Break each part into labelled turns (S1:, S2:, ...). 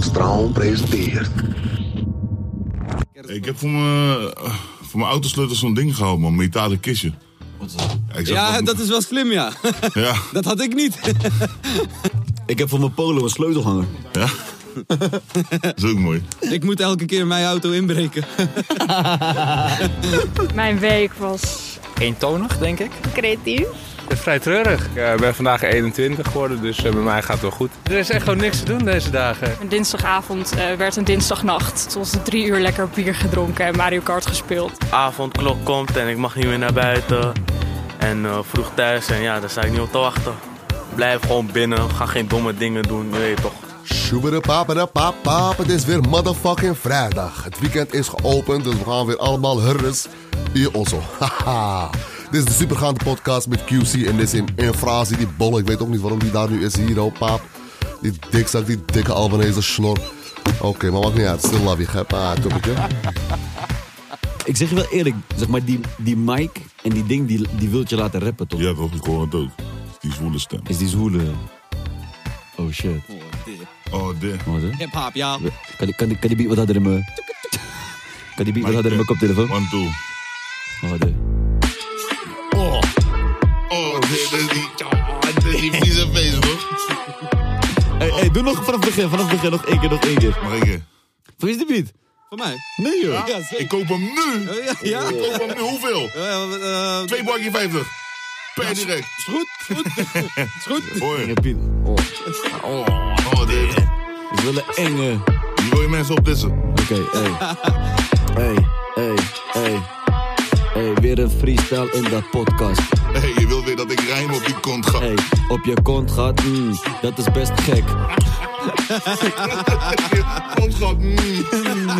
S1: Straal presenteert.
S2: Ik heb voor mijn, eh, voor mijn autosleutel zo'n ding gehouden, man. Een metalen kistje. Wat is dat?
S3: Ja, dat is wel slim, ja.
S2: Ja,
S3: Dat had ik niet.
S4: Ik heb voor mijn polo een sleutelhanger.
S2: ja. dat is ook mooi.
S3: Ik moet elke keer mijn auto inbreken.
S5: Mijn week was
S6: eentonig, denk ik.
S5: creatief.
S7: Vrij treurig. Ik eh, ben vandaag 21 geworden, dus eh, bij mij gaat het wel goed. Er is echt gewoon niks te doen deze dagen.
S5: Een dinsdagavond eh, werd een dinsdagnacht. Tot de drie uur lekker bier gedronken en Mario Kart gespeeld.
S8: avondklok komt en ik mag niet meer naar buiten. En eh, vroeg thuis en ja, daar sta ik niet op te wachten. Blijf gewoon binnen, ga geen domme dingen doen, je weet toch.
S1: Sjoebere papere papa, het is weer motherfucking vrijdag. Het weekend is geopend, dus we gaan weer allemaal hurres. Hier also. Haha. Dit is de supergaande podcast met QC en dit is in infrasie, die bolle. Ik weet ook niet waarom die daar nu is. Hier, oh paap. Die dikzak, die dikke Albanese snor. Oké, maar maakt niet uit. Still love you, gep. Ah, toppetje.
S4: Ik zeg je wel eerlijk, zeg maar die, die mic en die ding, die, die wilt je laten rappen toch?
S2: Ja, toch? Ik hoor het ook. Die zwoele stem.
S4: Is die zwoele... Oh shit.
S2: Oh, dit.
S4: Wat hè?
S3: Hip-hop, ja.
S4: Kan die, kan, die, kan die beat wat harder in mijn... Kan die beat wat harder in mijn koptelefoon?
S2: One, two.
S4: Wacht, hè.
S2: Oh. Oh, dit is die... Oh, dit is die vieze face, hoor.
S4: Hey, hey, doe nog vanaf het begin, vanaf het begin. Nog één keer, nog één keer.
S2: Mag ik een?
S4: Wat is de beat?
S3: Voor mij.
S4: Nee joh.
S3: Ja, zeker.
S2: Ik koop hem nu.
S3: Ja, ja.
S2: Ik koop hem nu. Hoeveel?
S3: Eh, eh,
S2: Twee bakje 50. Per direct.
S3: is goed, is goed. Is goed.
S2: Hoi.
S4: Piet. Oh,
S2: Oh, oh, dit.
S4: ik wil een enge.
S2: Hier wil je mensen op dissen.
S4: Oké, hey. Hey, hey, hey. Hey, weer een freestyle in dat podcast.
S2: Hey, je wil weer dat ik rijm op die kont ga.
S4: Hey, op je kont gaat, mm, dat is best gek.
S2: Kont gaat... mm.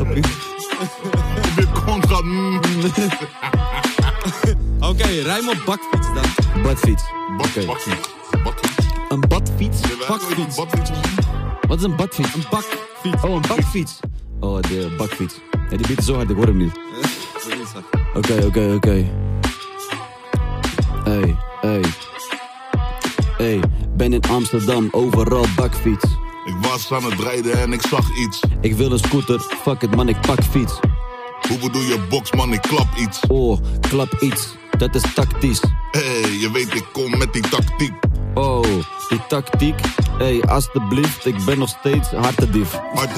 S4: Op je-
S2: Op je kont gaat... mm.
S3: Oké, rijm op bakfiets dan.
S4: Badfiets.
S2: Bak,
S4: Oké.
S2: Bakfiets. Bakfiets.
S4: Een badfiets?
S2: Bakfiets. Bakfiets.
S4: Wat is een badfiets?
S3: Een bakfiets.
S4: Oh, een bakfiets. Oh, de bakfiets. Ja, die biedt zo hard, ik hoor hem niet. Oké, oké, oké. Hey, hey. Hey, ben in Amsterdam, overal bakfiets.
S2: Ik was aan het rijden en ik zag iets.
S4: Ik wil een scooter, fuck it man, ik pak fiets.
S2: Hoe bedoel je box, man? Ik klap iets.
S4: Oh, klap iets, dat is tactisch.
S2: hey, je weet ik kom met die tactiek.
S4: Oh, die tactiek. Hey, alsjeblieft, ik ben nog steeds hartendief.
S2: Hard...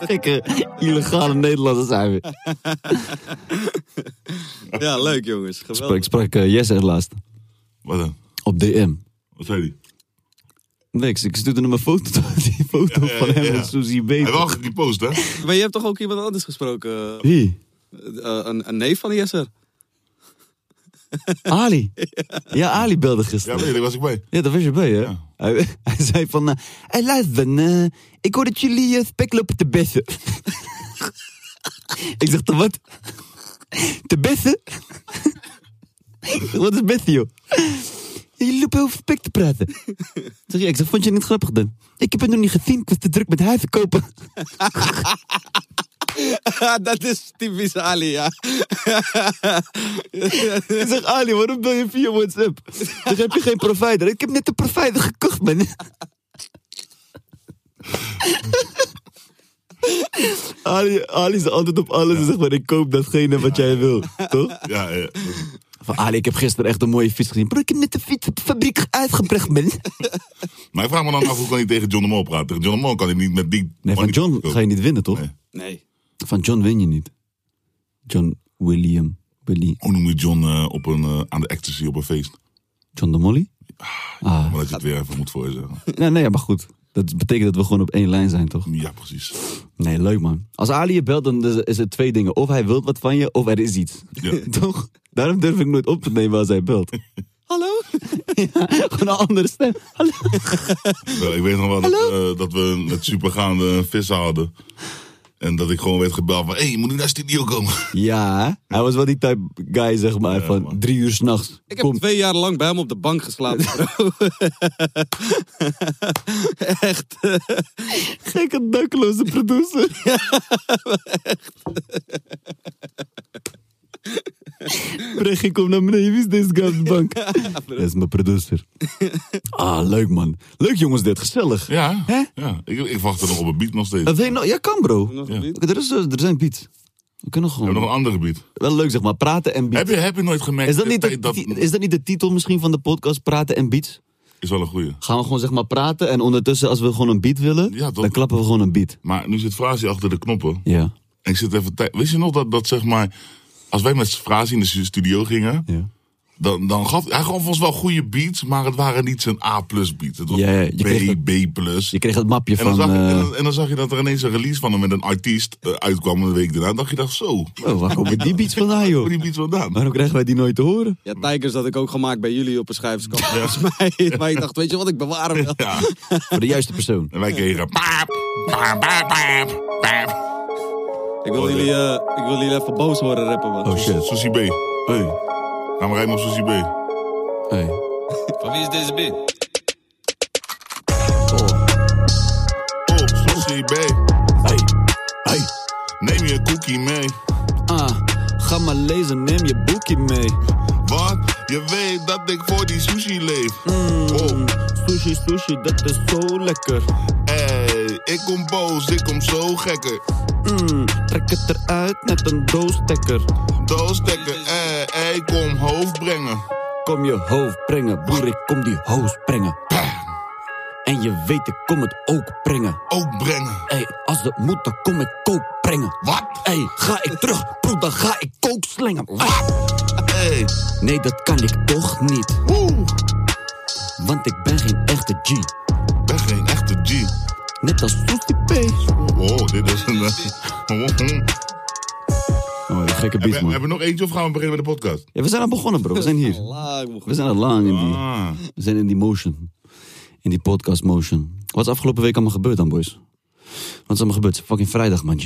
S4: Gekke, illegale Nederlanders zijn we.
S3: Ja, leuk jongens.
S4: Ik
S3: Geweldig.
S4: sprak eh, Jesse laatst
S2: Wat dan?
S4: op DM.
S2: Wat zei die?
S4: Niks, ik stuurde hem een foto, die foto
S2: Ja, ja,
S4: van hem
S2: ja.
S4: en Susie
S2: Hij heeft
S4: Beter.
S2: wel gepost, hè?
S3: Maar je hebt toch ook iemand anders gesproken? Eh,
S4: Wie?
S3: eh, een, een neef van Jesser?
S4: Ali. Ja, Ali belde gisteren.
S2: Ja, weet ik, was ik bij.
S4: Ja, dat was je bij, hè?
S2: Ja.
S4: Hij, hij zei van, eh, hey, luister, eh, ik hoor dat jullie eh, spek lopen te bessen. ik zeg, te wat? te bessen? wat is bessen, joh? Jullie lopen over spek te praten. Ik zeg, ja, ik zeg, vond je het niet grappig dan? Ik heb het nog niet gezien, ik was te druk met huizen kopen.
S3: dat is typisch Ali, ja.
S4: Ik zeg, Ali, waarom bel je via WhatsApp? Dan heb je geen provider. Ik heb net een provider gekocht, man. Ali, Ali is altijd op alles en zegt maar, ik koop datgene wat jij wil. Toch?
S1: Ja, ja.
S4: Van Ali, ik heb gisteren echt een mooie fiets gezien. Bro, ik heb net de fietsfabriek uitgebracht, man.
S2: Maar ik vraag me dan af hoe kan hij tegen John de Mol praten. Tegen John de Mol kan hij niet met die...
S4: Nee, van John ga je niet winnen, toch?
S2: Nee.
S3: Nee.
S4: Van John win je niet. John William. Willy.
S2: Hoe noem je John eh, op een, eh, aan de ecstasy op een feest?
S4: John de Molly? Ah.
S2: Maar dat je het weer even moet voorzeggen.
S4: Nee, nee, maar goed. Dat betekent dat we gewoon op één lijn zijn, toch?
S2: Ja, precies.
S4: Nee, leuk man. Als Ali je belt, dan is- is het twee dingen. Of hij wil wat van je, of er is iets.
S2: Ja.
S4: Toch? Daarom durf ik nooit op te nemen als hij belt.
S3: Hallo?
S4: Gewoon een andere stem. Hallo.
S2: Wel, Ik weet nog wel dat, eh, dat we met supergaande vissen hadden. En dat ik gewoon werd gebeld van... Hé, hey, je moet nu naar de studio komen.
S4: Ja, hij was wel die type guy, zeg maar, van
S2: man.
S4: drie uur s'nachts.
S3: Ik heb
S4: Kom.
S3: twee jaar lang bij hem op de bank geslapen. bro. Echt.
S4: Gekke dakloze producer. Brechtje, kom naar beneden. Wie is deze guy op de bank? Dat is mijn producer. Ah, leuk man. Leuk jongens dit, gezellig.
S2: Ja,
S4: Hè?
S2: ja. Ik, ik wacht er nog op een beat nog steeds.
S4: Dat weet je nog- Ja, kan bro.
S3: Nog
S2: Ja.
S3: niet?
S4: Oké, Er, is, eh, er zijn beats. We kunnen
S2: We
S4: gewoon...
S2: hebben nog een ander gebied.
S4: Wel leuk zeg maar, praten en
S2: Heb
S4: beats.
S2: je, heb je nooit gemerkt...
S4: Is dat,
S2: in
S4: niet
S2: de
S4: de,
S2: tijd dat
S4: ti- is dat niet de titel misschien van de podcast, praten en beats?
S2: is wel een goeie.
S4: Gaan we gewoon zeg maar praten en ondertussen als we gewoon een beat willen,
S2: Ja, toch?
S4: dan klappen we gewoon een beat.
S2: Maar nu zit Frazi achter de knoppen.
S4: Ja.
S2: En ik zit even... tij- Wist je nog dat, dat zeg maar... Als wij met Frazi in de stu- studio gingen...
S4: Ja.
S2: Dan, dan gaf hij gaf ons wel goede beats, maar het waren niet zijn A plus beats. Het was
S4: Ja, ja, je kreeg
S2: B, B plus.
S4: Je kreeg het mapje
S2: En
S4: van...
S2: dan, zag je, en,
S4: eh,
S2: dan, en dan zag je dat er ineens een release van hem met een artiest eh, uitkwam een week daarna. Dan dacht je dacht zo,
S4: Oh, waar komen die beats vandaan,
S2: hoe
S4: joh?
S2: die beats vandaan?
S4: Waarom krijgen wij die nooit te horen?
S3: Ja, Tigers had ik ook gemaakt bij jullie op een schrijverskamp. Volgens mij. Maar ik dacht, weet je wat, ik bewaar hem wel.
S2: Ja,
S4: Voor de juiste persoon.
S2: en wij kregen paap, paap, paap, paap, paap.
S3: Ik wil jullie, eh, ik wil jullie even boos horen rappen, man.
S4: Oh shit.
S2: Susie B.
S4: Hey.
S2: Gaan we rijden op Susie B.
S4: Hey.
S6: Van wie is deze beat?
S2: Oh, Susie B.
S4: Hey. Hey.
S2: Neem je cookie mee.
S4: Ah, ga maar lezen, neem je boekje mee.
S2: Want je weet dat ik voor die sushi leef. Oh,
S4: Mm, sushi, sushi, dat is zo lekker.
S2: ey, ik kom boos, ik kom zo gekker.
S4: Mm, trek het eruit met een doosstekker.
S2: Doosdekker, ey, ey, eh, kom hoofd brengen.
S4: Kom je hoofd brengen, broer, ik kom die hoos brengen. En je weet, ik kom het ook brengen.
S2: Ook brengen.
S4: Ey, als het moet, dan kom ik kook brengen.
S2: Wat?
S4: Ey, ga ik terug, broer, dan ga ik kook slengen. Ah.
S2: Ey,
S4: Nee, dat kan ik toch niet,
S2: woe.
S4: want ik ben geen echte G.
S2: Ben geen echte G.
S4: Net als Soestie P.
S2: Oh, dit is een. eh,
S4: Oh, wat een gekke
S2: Hebben
S4: beat,
S2: hebben
S4: man.
S2: we nog eentje of gaan we beginnen met de podcast?
S4: Ja, we zijn al begonnen, bro. We zijn hier.
S3: Laag, man.
S4: We zijn al lang in die,
S2: Ah,
S4: we zijn in die motion. In die podcast motion. Wat is afgelopen week allemaal gebeurd dan, boys? Wat is allemaal gebeurd? Het is fucking vrijdag, man, G.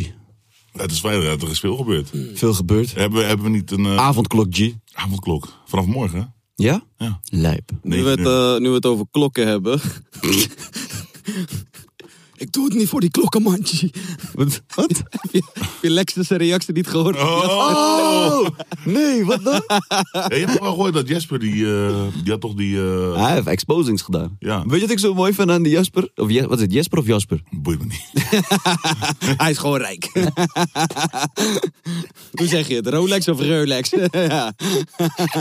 S2: het is vrijdag, ja, er is veel gebeurd.
S4: Veel gebeurd.
S2: Hebben, we- hebben we niet een eh,
S4: Avondklok, G.
S2: avondklok? Vanaf morgen? hè?
S4: Ja?
S2: Ja.
S4: Lijp.
S3: Nu we, het, eh, nu we het over klokken hebben. Hmm. ik doe het niet voor die klokkenmandje.
S4: Wat? Wat?
S3: heb, je, heb je Lexus' reactie niet gehoord?
S4: Oh! Nee, wat dan?
S2: Ja, je hebt wel gehoord dat Jesper, die, eh, die had toch die... eh,
S4: Hij heeft exposings gedaan.
S2: Ja.
S4: Weet je wat ik zo mooi vind aan die Jasper? Of Je- wat is het, Jesper of Jasper?
S2: boeit me niet.
S3: Hij is gewoon rijk. Hoe zeg je het? Rolex of Rolex? ja.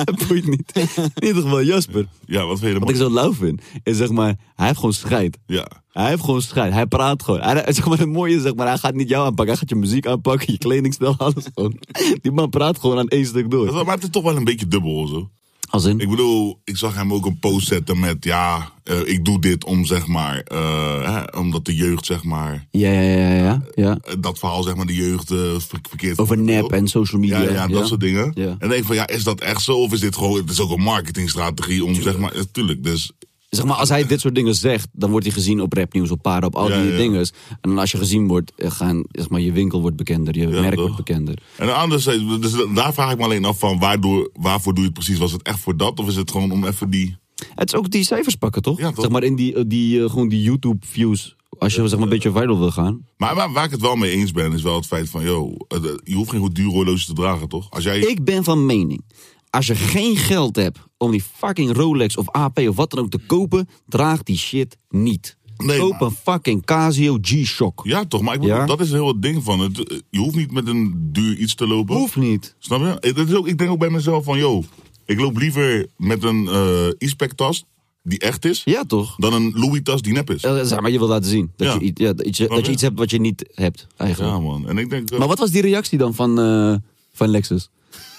S4: Dat boeit niet. In ieder geval Jasper.
S2: Ja, wat vind je
S4: Wat ik
S2: ervan?
S4: zo lauw vind, is zeg maar, hij heeft gewoon scheid.
S2: Ja.
S4: Hij heeft gewoon scheid. Hij praat gewoon. Hij, zeg maar, het mooie is, zeg maar, hij gaat niet jou aanpakken. Hij gaat je muziek aanpakken, je kledingstijl, alles gewoon. Die man praat gewoon aan één stuk
S2: Dat
S4: door.
S2: wel- Maar het is toch wel een beetje dubbel of zo.
S4: Als in,
S2: Ik bedoel, ik zag hem ook een post zetten met... Ja, eh, ik doe dit om, zeg maar... eh, hè, omdat de jeugd, zeg maar...
S4: ja, ja, ja, ja, ja.
S2: eh, Dat verhaal, zeg maar, de jeugd eh, ver- verkeerd...
S4: Over nep en social media.
S2: Oh. Ja, ja, dat soort dingen.
S4: Ja.
S2: En dan denk ik van, ja, is dat echt zo? Of is dit gewoon, het is ook een marketingstrategie om, zeg maar, natuurlijk. Dus
S4: Zeg maar, als hij dit soort dingen zegt, dan wordt hij gezien op rapnieuws, op paarden, op al
S2: Ja,
S4: die
S2: ja.
S4: dingen. En dan als je gezien wordt, eh, gaan, zeg maar, je winkel wordt bekender, je merk
S2: toch?
S4: wordt bekender.
S2: En anderzijds, dus daar vraag ik me alleen af van waardoor, waarvoor doe je het precies? Was het echt voor dat of is het gewoon om even die...
S4: Het is ook die cijfers pakken, toch?
S2: Ja, toch?
S4: Zeg maar, in die, eh, die, eh, gewoon die YouTube-views. Als je zeg maar, een beetje viral wil gaan.
S2: Maar waar, waar ik het wel mee eens ben is wel het feit van, yo, eh, je hoeft geen goed duur horloge te dragen, toch? Als jij...
S4: Ik ben van mening. Als je geen geld hebt om die fucking Rolex of AP of wat dan ook te kopen, draag die shit niet.
S2: Nee,
S4: Koop
S2: maar-
S4: een fucking Casio G-Shock.
S2: Ja, toch? Maar ik bedoel,
S4: Ja?
S2: dat is heel het ding van het. Je hoeft niet met een duur iets te lopen.
S4: Hoeft niet.
S2: Snap je? Eh, Dat is ook, ik denk ook bij mezelf van, yo, ik loop liever met een eh e-spec tas die echt is,
S4: Ja, toch?
S2: dan een Louis tas die nep is.
S4: Eh, Zeg maar, je wil laten zien. Dat,
S2: Ja.
S4: je, iets- ja, dat, je, dat je
S2: je?
S4: iets hebt wat je niet hebt, eigenlijk.
S2: Ja, man. En ik denk, eh, dat-
S4: Maar wat was die reactie dan van, eh, van Lexus?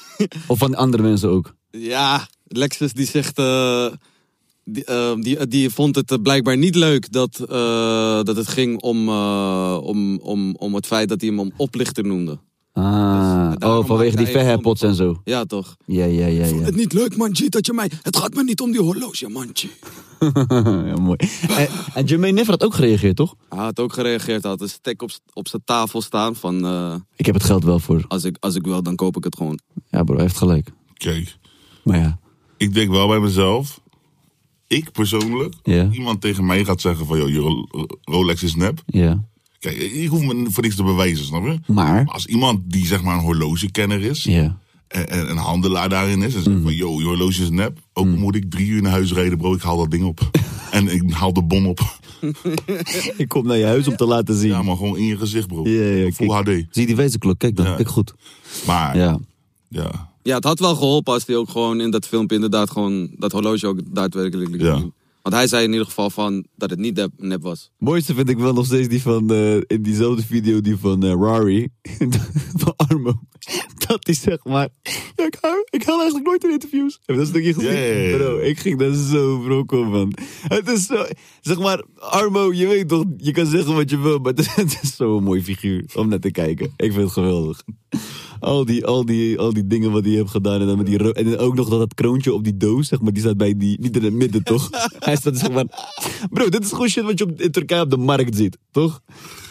S4: of van andere mensen ook?
S3: Ja, Lexus die zegt. eh, die, eh, die, die vond het eh, blijkbaar niet leuk dat, eh, dat het ging om, eh, om, om, om het feit dat hij hem om oplichter noemde.
S4: Ah,
S3: Dus daarom
S4: oh, vanwege
S3: maakt
S4: die
S3: hij
S4: verherpots en zo.
S3: Ja, toch?
S4: Ja, ja, ja, ja.
S3: niet leuk, manji, dat je mij. Het gaat me niet om die horloge, manji.
S4: ja mooi. En, en Jermaine Niffer had ook gereageerd, toch?
S3: Hij had ook gereageerd, hij had een stek op, op zijn tafel staan van. eh,
S4: Ik heb het geld wel voor.
S3: als, ik, als ik wil, dan koop ik het gewoon.
S4: Ja, bro, hij heeft gelijk.
S2: kijk,
S4: Maar ja.
S2: ik denk wel bij mezelf, ik persoonlijk,
S4: Ja.
S2: iemand tegen mij gaat zeggen van, yo, je Ro- Rolex is nep.
S4: Ja.
S2: Kijk, ik hoef me voor niks te bewijzen, snap je?
S4: Maar.
S2: Als iemand die zeg maar een horlogekenner is
S4: Ja.
S2: en, en een handelaar daarin is en zegt
S4: Mhm.
S2: van, yo, je horloge is nep, ook moet ik drie uur naar huis rijden, bro, ik haal dat ding op. en ik haal de bon op.
S4: Ik kom naar je huis om te laten zien.
S2: Ja, maar gewoon in je gezicht, bro.
S4: Ja, ja,
S2: Full HD.
S4: Zie die wezenklok, kijk dan.
S2: Ja.
S4: Kijk goed.
S2: Maar, ja.
S4: Ja.
S2: ja.
S3: Ja, het had wel geholpen als hij ook gewoon in dat filmpje inderdaad gewoon dat horloge ook daadwerkelijk liet
S2: Ja.
S3: zien. Want hij zei in ieder geval van dat het niet nep, nep was.
S4: Mooiste vind ik wel nog steeds die van, eh, in diezelfde video, die van eh, Rari, van Armo. Dat die zeg maar, ja, ik, hou, ik hou eigenlijk nooit in interviews. Heb je dat stukje gezien?
S2: Ja, ja, ja.
S4: Bro, ik ging daar zo brokken om, man. Het is zo, zeg maar, Armo, je weet toch, je kan zeggen wat je wil, maar het is, het is zo'n mooi figuur om naar te kijken. Ik vind het geweldig. Al die, al die, al die dingen wat hij heeft gedaan. En, dan met die ro- en ook nog dat, dat kroontje op die doos, zeg maar. Die staat bij die, niet in het midden, toch? Hij staat zeg maar... Bro, dit is gewoon shit wat je op, in Turkije op de markt ziet, toch?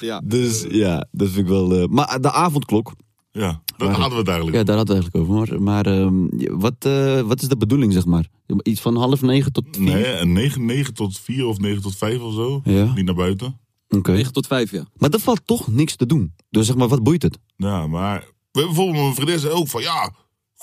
S3: Ja.
S4: Dus ja, dat vind ik wel... eh, maar de avondklok,
S2: Ja, daar
S4: Maar-
S2: hadden we het eigenlijk.
S4: ja, daar hadden we eigenlijk over. Maar, maar ehm, wat, eh, wat is de bedoeling, zeg maar? Iets van half negen tot vier?
S2: Nee, en 9, 9 tot 4 of 9 tot 5 of zo.
S4: Ja.
S2: Niet naar buiten.
S4: Oké.
S3: 9 tot 5, ja.
S4: Maar er valt toch niks te doen. Dus zeg maar, wat boeit het?
S2: Ja, maar we hebben bijvoorbeeld mijn vriendin zei ook van ja.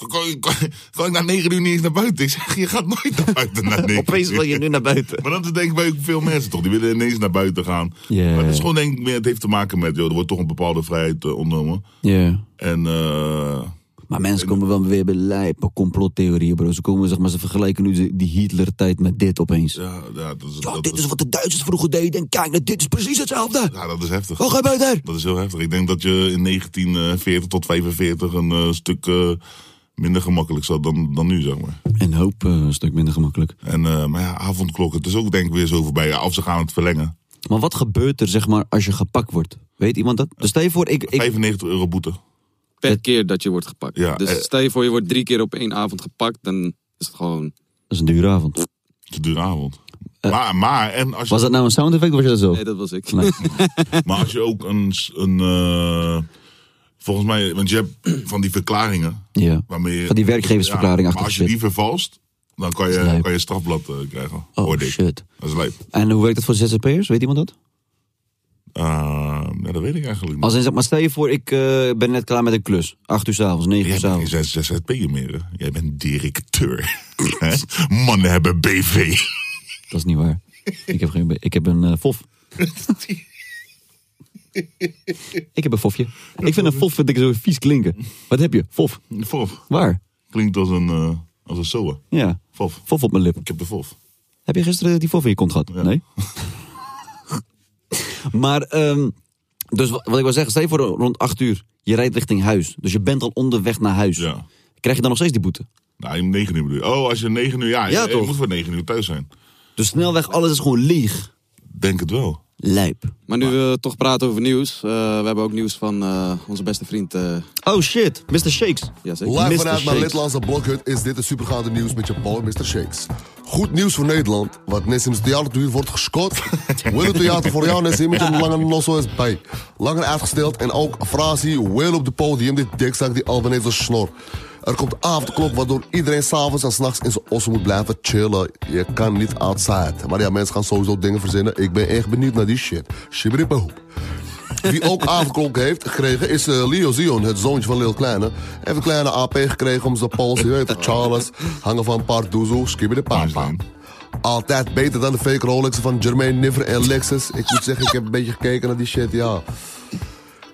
S2: Kan, je- kan, kan ik na 9 uur niet eens naar buiten? Ik zeg, je gaat nooit naar buiten na 9
S4: Opeens wil
S2: uur.
S4: je nu naar buiten.
S2: Maar dat is denk ik bij ook veel mensen toch. Die willen ineens naar buiten gaan.
S4: Ja.
S2: Maar het is gewoon denk ik meer, het heeft te maken met, joh, er wordt toch een bepaalde vrijheid eh, ontnomen.
S4: Ja.
S2: En eh,
S4: Maar mensen komen wel weer bij lijpe complottheorieën, bro. Ze komen, zeg maar, ze vergelijken nu die Hitler-tijd met dit opeens. Ja,
S2: ja, ja, dat, is, dat,
S4: dit
S2: is,
S4: is wat de Duitsers vroeger deden. En kijk, nou, dit is precies hetzelfde. Oh,
S2: ja, dat is heftig.
S4: Wat gebeurt er?
S2: Dat is heel heftig. Ik denk dat je in 1940 tot 45 een eh, stuk eh, minder gemakkelijk zat dan, dan nu, zeg maar.
S4: En hoop eh, een stuk minder gemakkelijk.
S2: En, eh, maar ja, avondklokken, het is ook denk ik weer zo voorbij. Ja, of ze gaan het verlengen.
S4: Maar wat gebeurt er, zeg maar, als je gepakt wordt? Weet iemand dat? Dus stel je voor, ik... ik
S2: 95 euro boete.
S3: Per keer dat je wordt gepakt.
S2: Ja,
S3: dus
S2: eh.
S3: stel je voor, je wordt drie keer op één avond gepakt, dan is het gewoon.
S4: dat is een dure avond.
S2: Het is een dure avond.
S4: Eh.
S2: maar, maar, en als je,
S4: Was dat nou een sound effect of was je dat zo?
S3: Nee, dat was ik.
S4: Nee.
S2: maar als je ook een. s- een eh, volgens mij, want je hebt van die verklaringen.
S4: Ja.
S2: Waarmee je,
S4: Van die werkgeversverklaring
S2: Ja,
S4: achter
S2: maar als je
S4: shit.
S2: die vervalst, dan kan
S4: Dat is
S2: je,
S4: lijp.
S2: kan je strafblad eh, krijgen.
S4: Oh,
S2: Hoorde ik.
S4: shit.
S2: Dat is lijp.
S4: En hoe werkt dat voor ZZP'ers? Weet iemand dat?
S2: Eh, ja, dat weet ik eigenlijk niet.
S4: Als in, zeg maar, stel je voor, ik eh, ben net klaar met een klus. Acht uur s'avonds, negen uur
S2: Jij bent
S4: s'avonds.
S2: geen zes- ZZP'er meer. hè? Jij bent directeur. Hè? Mannen hebben BV.
S4: Dat is niet waar. Ik heb, geen, ik heb een eh, fof. ik heb een fofje. Ik vind een fof vind ik zo vies klinken. Wat heb je? Fof.
S2: Fof.
S4: Waar?
S2: Klinkt als een, eh als een SOA.
S4: Ja.
S2: Fof.
S4: Fof op mijn lip.
S2: Ik heb de fof.
S4: Heb je gisteren die fof in je kont gehad?
S2: Ja.
S4: Nee. maar, ehm, dus wat, wat ik wil zeggen, stel je voor rond 8 uur. Je rijdt richting huis. Dus je bent al onderweg naar huis.
S2: Ja.
S4: Krijg je dan nog steeds die boete?
S2: Nou, om 9 uur bedoel je. Oh, als je 9 uur. Ja,
S4: Ja,
S2: je, je
S4: toch?
S2: moet voor 9 uur thuis zijn.
S4: Dus snelweg, alles is gewoon leeg.
S2: Denk het wel.
S4: Lijp.
S3: Maar nu we toch praten over nieuws, eh, we hebben ook nieuws van eh, onze beste vriend. eh
S4: Oh shit, Mr. Shakes.
S3: ja, zeker.
S1: Live
S4: Mr.
S1: vanuit mijn
S4: Shakes.
S1: Lidlandse blokhut is dit de supergaande nieuws met je boy Mr. Shakes. Goed nieuws voor Nederland, want Nessim's theaterduur wordt geschot. Willen theater voor jou Nessim met een lange nosso is bij. Langer uitgesteld en ook Frazi wil op de podium dit dikzak die Albanese snor. Er komt avondklok waardoor iedereen s'avonds en s'nachts in zijn ossen moet blijven chillen. Je kan niet outside. Maar ja, mensen gaan sowieso dingen verzinnen. Ik ben echt benieuwd naar die shit. Shibberipoep. Wie ook avondklok heeft gekregen is eh, Leo Zion, het zoontje van Lil Kleine. Heeft een kleine AP gekregen om zijn pols, je weet het, Charles, hangen van Pardoezo, skibbe de papa.
S2: Fijn.
S1: Altijd beter dan de fake Rolex van Jermaine Niver en Lexus. Ik moet zeggen, ik heb een beetje gekeken naar die shit, ja.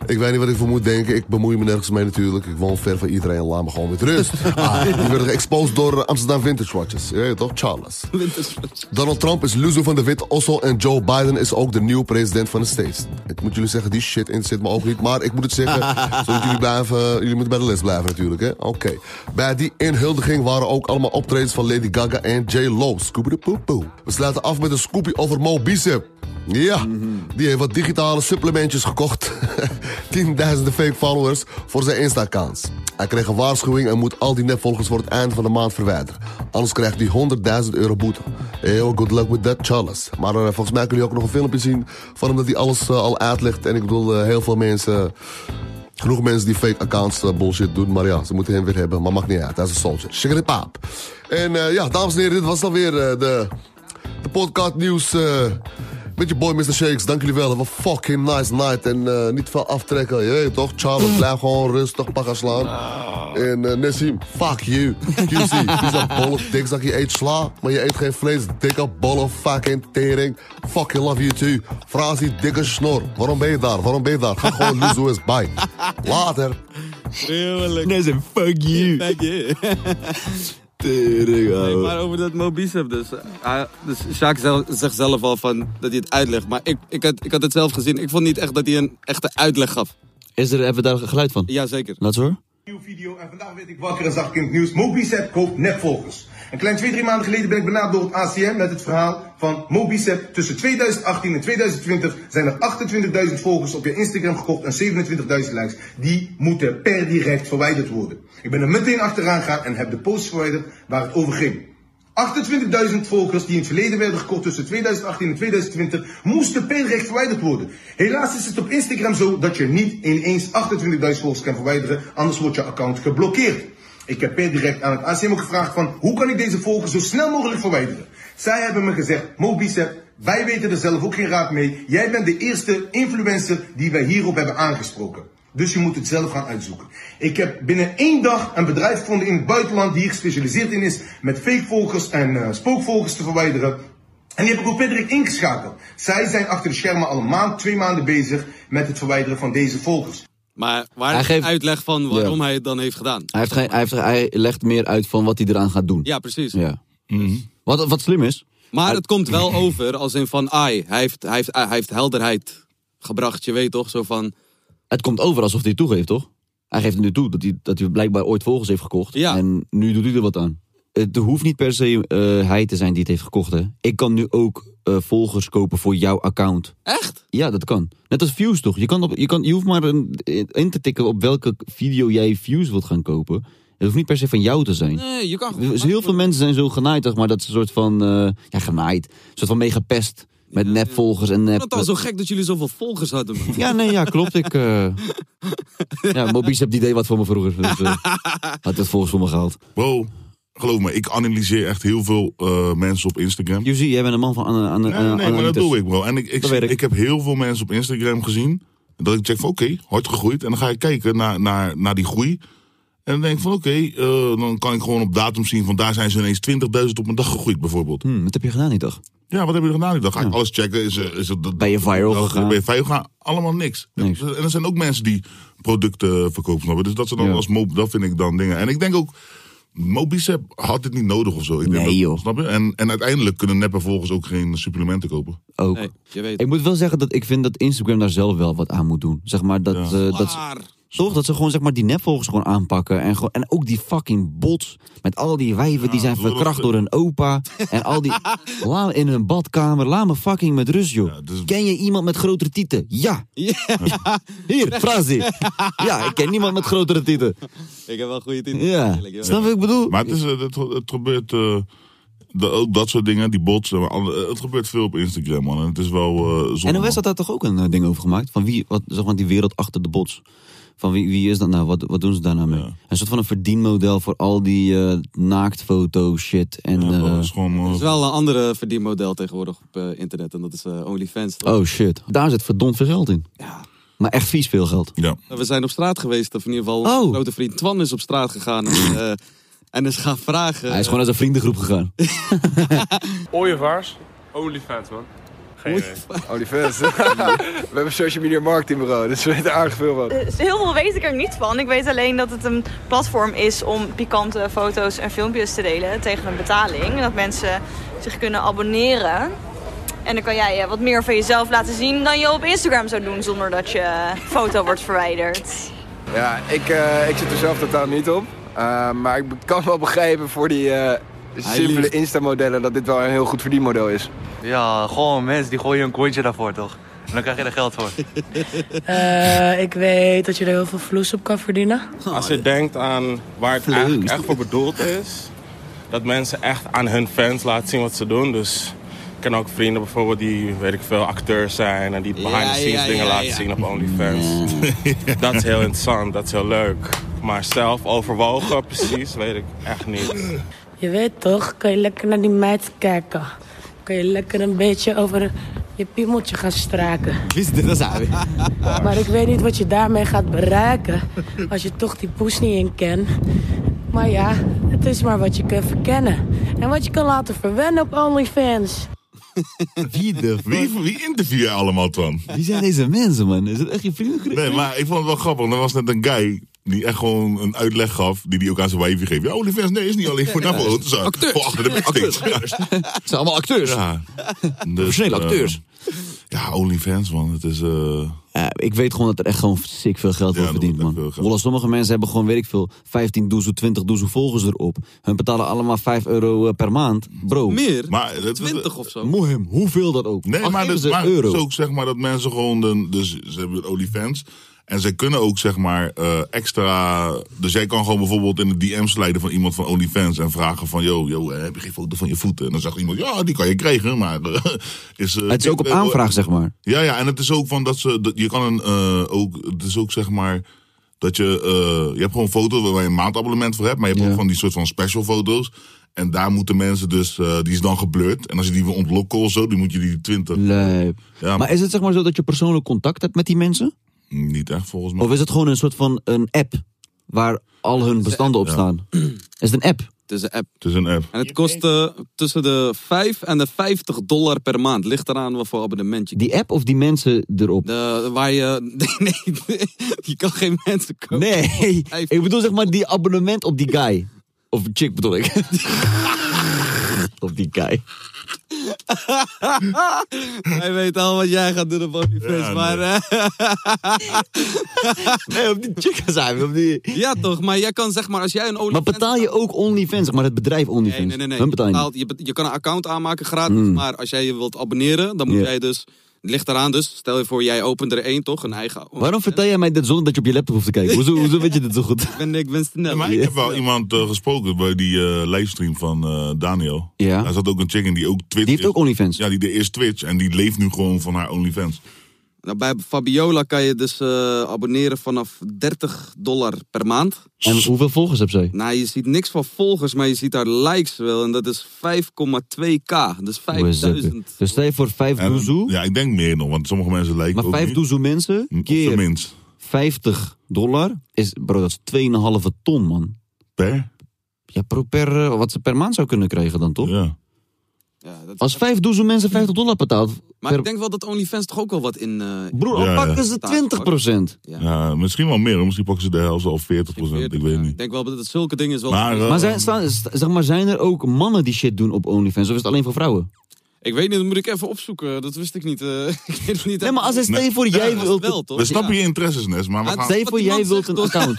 S1: Ik weet niet wat ik voor moet denken. Ik bemoei me nergens mee natuurlijk. Ik woon ver van iedereen. Laat me gewoon met rust. Ah, die werden geëxposed door eh, Amsterdam Vintage Watches. Je weet toch? Charles. Donald Trump is loser van de witte ossel. En Joe Biden is ook de nieuwe president van de States. Ik moet jullie zeggen, die shit interesseert me ook niet. Maar ik moet het zeggen, zodat jullie blijven... Jullie moeten bij de les blijven natuurlijk, hè? Oké. Bij die inhuldiging waren ook allemaal optredens van Lady Gaga en J-Lo. Scooby-doo-poo-poo. We sluiten af met een scoopie over Mo Bicep. Ja, die heeft wat digitale supplementjes gekocht. 10.000 fake followers voor zijn Insta-accounts. Hij kreeg een waarschuwing en moet al die nepvolgers voor het eind van de maand verwijderen. Anders krijgt hij 100.000 euro boete. Heel good luck with that, Charles. Maar eh, volgens mij kunnen jullie ook nog een filmpje zien van hem dat hij alles eh, al uitlegt. En ik bedoel, eh, heel veel mensen... Genoeg mensen die fake accounts eh, bullshit doen. Maar ja, ze moeten hem weer hebben. Maar maakt niet uit. Hij is een soldier. Sugar it pop. En eh, ja, dames en heren, dit was dan weer eh, de, de podcast nieuws. eh, met je boy Mr. Shakes. Dank jullie wel. Have a fucking nice night. En eh, niet veel aftrekken. Je weet toch? Charles, blijf gewoon rustig pakken slaan. En eh Nassim, fuck you. QC, vies dat bolle dikzak. Je eet sla, maar je eet geen vlees. Dikke bolle fucking tering. Fucking love you too. Fraas die dikke snor. Waarom ben je daar? Waarom ben je daar? Ga gewoon loezoe eens bij. Later.
S3: Heerlijk.
S4: Nee, zijn fuck you.
S3: Kijk je.
S4: Tering,
S3: Nee,
S4: ouwe.
S3: maar over dat Mobicep dus. Ah, dus Sjaak zelf- zegt zelf al van dat hij het uitlegt. Maar ik, ik, had, ik had het zelf gezien. Ik vond niet echt dat hij een echte uitleg gaf.
S4: Is er even daar geluid van?
S3: Jazeker.
S4: Laat eens hoor.
S9: Nieuwe video en vandaag werd ik wakker en zag ik in het nieuws. Mobicep koopt nepvolgers. Een klein 2-3 maanden geleden ben ik benaderd door het ACM met het verhaal van Mobicep. Tussen 2018 en 2020 zijn er 28.000 volgers op je Instagram gekocht en 27.000 likes. Die moeten per direct verwijderd worden. Ik ben er meteen achteraan gegaan en heb de posts verwijderd waar het over ging. 28.000 volgers die in het verleden werden gekocht tussen 2018 en 2020 moesten per recht verwijderd worden. Helaas is het op Instagram zo dat je niet ineens 28.000 volgers kan verwijderen, anders wordt je account geblokkeerd. Ik heb per direct aan het ACM ook gevraagd van hoe kan ik deze volgers zo snel mogelijk verwijderen. Zij hebben me gezegd, Mobicep, wij weten er zelf ook geen raad mee. Jij bent de eerste influencer die wij hierop hebben aangesproken. Dus je moet het zelf gaan uitzoeken. Ik heb binnen één dag een bedrijf gevonden in het buitenland die hier gespecialiseerd in is met fakevolgers en eh, spookvolgers te verwijderen. En die heb ik ook per direct ingeschakeld. Zij zijn achter de schermen al een maand, twee maanden bezig met het verwijderen van deze volgers.
S3: Maar waar
S4: Hij
S3: hij
S4: geeft-
S3: uitleg van waarom
S4: Ja.
S3: hij het dan heeft gedaan.
S4: Hij, heeft geen, hij, heeft, hij legt meer uit van wat hij eraan gaat doen.
S3: Ja, precies.
S4: Ja. Mhm. Wat, wat slim is.
S3: Maar het komt wel over als in van ai. Hij heeft, hij, heeft, hij heeft helderheid gebracht. Je weet toch? Zo van.
S4: Het komt over alsof hij het toegeeft, toch? Hij geeft nu toe dat hij, dat hij blijkbaar ooit volgers heeft gekocht.
S3: Ja.
S4: En nu doet hij er wat aan. Het hoeft niet per se eh, hij te zijn die het heeft gekocht, hè. Ik kan nu ook eh, volgers kopen voor jouw account.
S3: Echt?
S4: Ja, dat kan. Net als views, toch? Je, kan op, je, kan, je hoeft maar een, in te tikken op welke video jij views wilt gaan kopen. Het hoeft niet per se van jou te zijn.
S3: Nee, je kan gewoon.
S4: Dus heel veel mensen zijn zo genaaid, zeg maar. Dat is een soort van... eh, ja, genaaid. Een soort van mega pest. Met nepvolgers en
S3: Ik
S4: nep...
S3: vond het al zo gek dat jullie zoveel volgers hadden. man.
S4: Ja, nee, ja, klopt. Ik, eh ja, Mobicep die deed wat voor me vroeger. Dus, eh, had het volgens voor me gehaald.
S2: Wow, geloof me, ik analyseer echt heel veel eh, mensen op Instagram.
S4: Yuzi, jij bent een man van aan, aan,
S2: Nee, nee, maar dat doe ik, bro. En ik, ik,
S4: Dat
S2: ik.
S4: weet ik.
S2: heb heel veel mensen op Instagram gezien. Dat ik check van, oké, hard gegroeid. En dan ga ik kijken naar, naar, naar die groei. En dan denk ik van, oké, eh, dan kan ik gewoon op datum zien van... daar zijn ze ineens 20.000 op een dag gegroeid, bijvoorbeeld.
S4: wat Hm, heb je gedaan die dag?
S2: Ja, wat heb je er gedaan? Dan ga ik alles checken. Is, er- is, het
S4: Ben je viral gegaan?
S2: Ben je viral gegaan? Allemaal niks.
S4: Niks.
S2: En er zijn ook mensen die producten verkopen, snap je? Dus dat, ze dan
S4: Ja.
S2: als mo dat vind ik dan dingen. En ik denk ook, Mobicep had dit niet nodig of zo. Ik denk
S4: Nee,
S2: dat-
S4: joh.
S2: Snap je? En, en uiteindelijk kunnen neppen volgens ook geen supplementen kopen.
S4: Ook.
S3: Nee, je weet.
S4: Ik moet wel zeggen dat ik vind dat Instagram daar zelf wel wat aan moet doen. Zeg maar dat, eh, dat,
S2: Ah,
S4: ze-
S3: Waar?
S4: Toch? Dat ze gewoon zeg maar, die nepvolgers gewoon aanpakken. En, gewoon, en ook die fucking bots. Met al die wijven die zijn
S2: lullig.
S4: verkracht door hun opa. En al die. Laat in hun badkamer. Laat me fucking met rust, joh.
S2: Ja, dus-
S4: Ken je iemand met grotere tieten? Ja. Hier, Frazi. ja, ik ken niemand met grotere tieten.
S3: Ik heb wel goede titel.
S4: Ja.
S3: Eerlijk, joh.
S4: Snap je wat ik bedoel?
S2: Maar het, is, eh, het, het gebeurt eh, de- ook dat soort dingen, die bots. en alle- Het gebeurt veel op Instagram, man. En het is wel eh zonde,
S4: NOS
S2: man.
S4: had daar toch ook een eh, ding over gemaakt? Van wie, wat, zeg maar, die wereld achter de bots. Van wie, wie is dat nou? Wat, wat doen ze daar nou mee?
S2: Ja.
S4: Een soort van een verdienmodel voor al die eh, naaktfoto shit. En,
S2: Ja,
S4: eh,
S2: dat is gewoon... eh,
S3: Er is wel een andere verdienmodel tegenwoordig op eh, internet. En dat is eh, OnlyFans. toch?
S4: Oh shit. Daar zit verdomd veel geld in.
S3: Ja.
S4: Maar echt vies veel geld.
S2: ja.
S3: Nou, We zijn op straat geweest. Of in ieder geval,
S4: Oh. Hmm.
S3: onze grote vriend Twan is op straat gegaan. En, eh, En eens gaan vragen.
S4: Hij is gewoon uit een vriendengroep gegaan.
S7: Ooievaars? Olifant, man. Geen idee.
S10: Olivers. we hebben een social media marketingbureau, dus we weten aardig veel van.
S11: Dus heel veel weet ik er niet van. Ik weet alleen dat het een platform is om pikante foto's en filmpjes te delen tegen een betaling. Dat mensen zich kunnen abonneren. En dan kan jij eh, wat meer van jezelf laten zien dan je op Instagram zou doen zonder dat je foto wordt verwijderd.
S10: Ja, ik, eh, ik zit er zelf totaal niet op. Eh, maar ik kan wel begrijpen voor die eh, simpele
S8: liegt.
S10: Insta-modellen dat dit wel een heel goed verdienmodel is.
S8: Ja, gewoon mensen die gooien een kontje daarvoor, toch? En dan krijg je er geld voor.
S12: Eh, ik weet dat je er heel veel vloes op kan verdienen.
S7: Als je denkt aan waar het eigenlijk echt voor bedoeld is, dat mensen echt aan hun fans laten zien wat ze doen. Dus ik ken ook vrienden bijvoorbeeld die, weet ik veel, acteurs zijn en die behind the scenes
S2: ja,
S7: dingen
S2: ja,
S7: laten
S2: ja.
S7: zien op OnlyFans. dat is heel interessant, dat is heel leuk. Maar zelf overwogen, precies, weet ik echt niet.
S12: Je weet toch, kan je lekker naar die meid kijken. Kan je lekker een beetje over je piemeltje gaan straken.
S4: Wist dit als hij.
S12: Maar ik weet niet wat je daarmee gaat bereiken. Als je toch die poes niet in kent. Maar ja, het is maar wat je kunt verkennen. En wat je kan laten verwennen op OnlyFans.
S4: Wie de
S2: Wie, wie interview je allemaal dan?
S4: Wie zijn deze mensen, man? Is het echt je vriendengroep?
S2: Nee, maar ik vond het wel grappig. want Er was net een guy die echt gewoon een uitleg gaf. Die die ook aan zijn wijfje geeft. Ja, Olivers, nee, is niet alleen voor Navo. Het is voor achter de acteurs. Het
S4: zijn allemaal acteurs.
S2: Ja.
S4: Professionele
S2: eh,
S4: acteurs.
S2: ja, OnlyFans, man. Het is... eh,
S4: Ja, ik weet gewoon dat er echt gewoon sick veel geld wordt verdiend, man. Hoewel sommige mensen hebben gewoon, weet ik veel, 15 doezoe, 20 doezoe volgers erop. Hun betalen allemaal 5 euro eh, per maand. Bro.
S3: Meer?
S2: Maar,
S3: 20 of zo.
S4: Mohem, hoeveel dat ook.
S2: Nee,
S4: Al
S2: maar,
S4: geven
S2: dat,
S4: ze
S2: maar
S4: een euro.
S2: het is ook zeg maar dat mensen gewoon, de, dus ze hebben OnlyFans. En zij kunnen ook zeg maar eh, extra, dus jij kan gewoon bijvoorbeeld in de DM slijden van iemand van OnlyFans en vragen van, yo, yo, eh, heb je geen foto van je voeten? En dan zegt iemand, ja, die kan je krijgen, maar... eh, is, eh,
S4: het is ook op
S2: eh,
S4: aanvraag, zeg maar.
S2: ja, ja, en het is ook van dat ze. Dat, je kan een. eh, ook, het is ook zeg maar. Dat je. eh, je hebt gewoon een foto waar je een maandabonnement voor hebt. Maar je hebt ook van die soort van special foto's. En daar moeten mensen dus. eh, die is dan geblurred. En als je die wil ontlokken of zo, dan moet je die 20.
S4: Lijp.
S2: Ja,
S4: Maar is het zeg maar zo dat je persoonlijk contact hebt met die mensen?
S2: Niet echt volgens mij.
S4: Of is het gewoon een soort van een app waar al hun bestanden op staan? Is het een app?
S3: Het is een Dus app.
S2: Het is een app.
S3: En het kost eh, tussen de 5 en de 50 dollar per maand. Ligt eraan wat voor abonnement je
S4: Die app of die mensen erop?
S3: De- waar je. Nee, nee, je kan geen mensen kopen.
S4: Nee, ik bedoel zeg maar die abonnement op die guy. Of chick bedoel ik. op die guy.
S3: Hij weet al wat jij gaat doen op OnlyFans,
S4: Ja,
S3: maar... eh,
S4: nee, op die chicka zijn op die...
S3: Ja toch, maar jij kan zeg maar, als jij een
S4: Maar
S3: OnlyFans...
S4: betaal je ook OnlyFans, zeg maar het bedrijf OnlyFans?
S3: Nee, nee, nee.
S4: Hun
S3: Je,
S4: betaal je niet.
S3: betaalt- je, bet- je kan een account aanmaken gratis,
S4: Mm.
S3: maar als jij je wilt abonneren, dan moet
S4: Ja.
S3: jij dus... Het ligt eraan dus, stel je voor, jij opent er één toch, een eigen...
S4: Waarom vertel jij mij dit zonder dat je op je laptop hoeft te kijken? Hoezo, hoezo weet je dit zo goed?
S3: Ik ben, ik ben snel.
S2: Maar ik heb wel iemand eh, gesproken bij die eh, livestream van eh, Daniel.
S4: Ja.
S2: Daar zat ook een chick in die ook Twitch. Die heeft ook
S4: OnlyFans.
S2: Ja, die de eerst Twitch. En die leeft nu gewoon van haar OnlyFans.
S3: Nou, bij Fabiola kan je dus eh, abonneren vanaf 30 dollar per maand.
S4: En hoeveel volgers heb zij?
S3: Nou, je ziet niks van volgers, maar je ziet haar likes wel. En dat is 5,2k. Dus
S4: Hoe is dat?
S3: 5000.
S4: Dus stel je voor vijf
S2: En-
S4: doezoe.
S2: Ja, ik denk meer nog, want sommige mensen lijken
S4: Maar
S2: ook
S4: vijf
S2: niet. Mm,
S4: doezoe mensen
S2: Op zijn
S4: keer
S2: minst.
S4: 50 dollar is, bro, dat is 2,5 ton, man.
S2: Per?
S4: Ja, pro- per, eh, wat ze per maand zou kunnen krijgen dan, toch?
S2: Ja.
S4: Als vijf doezoe mensen 50 dollar betaalt...
S3: Maar ik denk wel dat OnlyFans toch ook wel wat in... eh,
S4: Broer,
S2: Ja,
S4: al
S2: ja.
S4: pakken ze 20 procent.
S2: Ja. misschien wel meer. hoor. Misschien pakken ze de helft of 40 procent. Ik weet het niet.
S3: Ik denk wel dat het zulke dingen is wel...
S2: Maar, eh,
S4: Maar zijn, staan, st- zeg maar, zijn er ook mannen die shit doen op OnlyFans? Of is het alleen voor vrouwen?
S3: Ik weet niet, dat moet ik even opzoeken. Dat wist ik niet. eh, ik weet het niet
S4: Nee, maar als het stel je voor,
S3: Ja,
S4: jij
S3: dat is
S4: wilt...
S3: wel, toch?
S2: We snappen
S3: Ja.
S2: je interesses, Nes, maar we
S3: Maar
S2: gaan...
S3: het
S4: Stel je
S3: Wat
S4: voor,
S3: die
S4: jij
S3: man
S4: wilt een
S3: zegt, toch?
S4: account.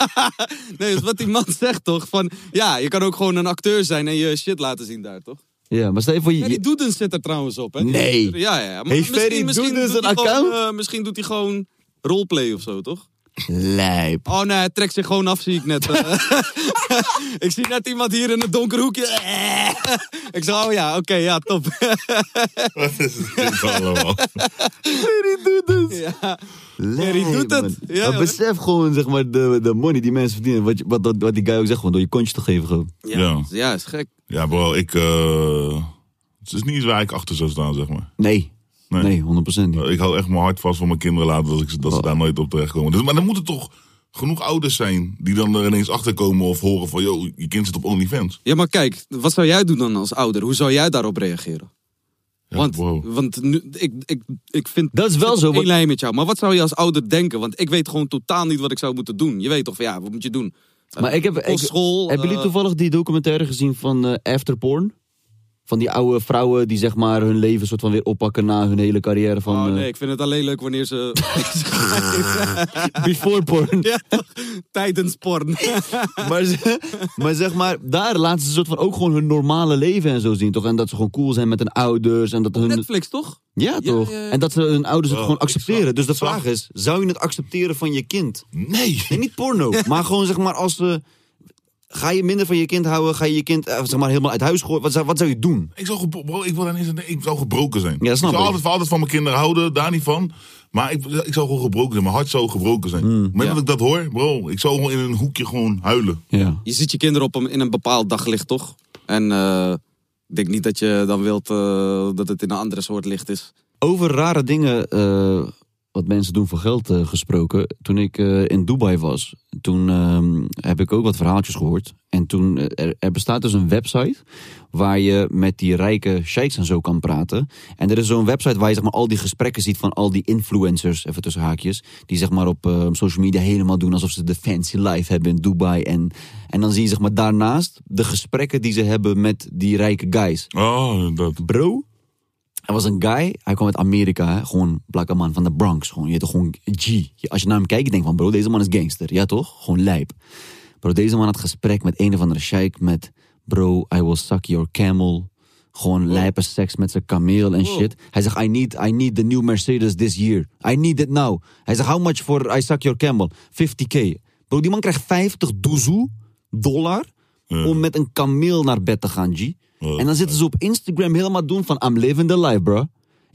S3: nee, dat is wat die man zegt toch? Van, ja, je kan ook gewoon een acteur zijn en je shit laten zien daar, toch?
S4: Ja, maar stel je voor...
S3: Ja, die
S4: Je,
S3: Doedens zit er trouwens op, hè? Die-
S4: Nee.
S3: Ja, ja.
S4: Heeft Ferry Doedens
S3: doet
S4: een
S3: hij gewoon,
S4: account?
S3: eh, misschien doet hij gewoon roleplay of zo, toch?
S4: lijp.
S3: Oh nee, hij trekt zich gewoon af, zie ik net. eh. ik zie net iemand hier in het donker hoekje. ik zeg, oh ja, oké, ja, top.
S2: Wat is dit allemaal?
S4: Ferry doet het.
S3: ja.
S4: Larry
S3: doet het. Ja,
S4: maar
S3: hoor.
S4: besef gewoon zeg maar, de, de money die mensen verdienen. Wat, je- wat, wat, wat die guy ook zegt, gewoon door je kontje te geven. Gewoon.
S2: Ja.
S3: ja, is gek.
S2: ja, bro, ik... eh, het is niet iets waar ik achter zou staan, zeg maar.
S4: Nee.
S2: Nee.
S4: Nee, 100% niet.
S2: Nou,
S4: Oh.
S2: Ik hou echt mijn hart vast voor mijn kinderen laten dat, ik, ze- dat ze daar nooit op terechtkomen. Dus, maar dan moet het toch genoeg ouders zijn die dan er ineens achter komen of horen van, joh, je kind zit op OnlyFans.
S3: Ja, maar kijk, wat zou jij doen dan als ouder? Hoe zou jij daarop reageren? Want, want nu, ik, ik, ik vind
S4: dat is wel zo.
S3: één lijn met jou. Maar wat zou je als ouder denken? Want ik weet gewoon totaal niet wat ik zou moeten doen. Je weet toch van ja, wat moet je doen? Eh,
S4: Maar ik heb. Ik,
S3: kostschool,
S4: hebben jullie
S3: eh,
S4: toevallig die documentaire gezien van eh After Porn? Van die oude vrouwen die zeg maar hun leven soort van weer oppakken na hun hele carrière van.
S3: Oh
S4: eh,
S3: nee, ik vind het alleen leuk wanneer ze.
S4: eh, Before porn.
S3: Ja, toch? Tijdens porn.
S4: maar, ze- maar zeg maar, daar laten ze soort van ook gewoon hun normale leven en zo zien, toch? En dat ze gewoon cool zijn met hun ouders en dat hun...
S3: Netflix, toch?
S4: Ja, toch? En dat ze hun ouders het
S3: Wow,
S4: gewoon accepteren. Dus de vraag is, zou je het accepteren van je kind?
S2: Nee.
S4: niet porno, maar gewoon zeg maar als... eh, ga je minder van je kind houden? Ga je je kind eh, zeg maar helemaal uit huis gooien? Wat zou, wat zou je doen?
S2: Ik zou, gebro- bro, ik, wil dan eens, ik zou gebroken zijn.
S4: Ja, dat snap
S2: ik zou
S4: ik.
S2: altijd, altijd van mijn kinderen houden, daar niet van. Maar ik, ik zou gewoon gebroken zijn. Mijn hart zou gebroken
S4: Hmm,
S2: zijn. Op het moment dat ik dat hoor, bro, ik zou gewoon in een hoekje gewoon huilen.
S3: Je ziet je kinderen op een, in een bepaald daglicht, toch? En eh, ik denk niet dat je dan wilt eh, dat het in een andere soort licht is.
S4: Over rare dingen eh, wat mensen doen voor geld eh, gesproken. Toen ik eh, in Dubai was, toen ehm, heb ik ook wat verhaaltjes gehoord. En toen, eh, er, er bestaat dus een website waar je met die rijke sheiks en zo kan praten. En er is zo'n website waar je zeg maar, al die gesprekken ziet van al die influencers, even tussen haakjes. Die zeg maar op eh, social media helemaal doen alsof ze de fancy life hebben in Dubai. En, en dan zie je zeg maar daarnaast de gesprekken die ze hebben met die rijke guys.
S2: Oh, dat.
S4: Bro, er was een guy, hij kwam uit Amerika, hè? gewoon blakke man van de Bronx. Gewoon, je heet gewoon G. Je- Als je naar hem kijkt, je denkt van bro, deze man is gangster. Ja toch? Gewoon lijp. Bro, deze man had gesprek met een of andere sheik met bro, I will suck your camel. Gewoon lijpe seks met zijn kameel en shit. Hij zegt, I need, I need the new Mercedes this year. I need it now. Hij zegt, how much for I suck your camel? 50k. Bro, die man krijgt 50 doezoe dollar om met een kameel naar bed te gaan, G. En dan zitten ze op Instagram helemaal doen van I'm living the life, bro.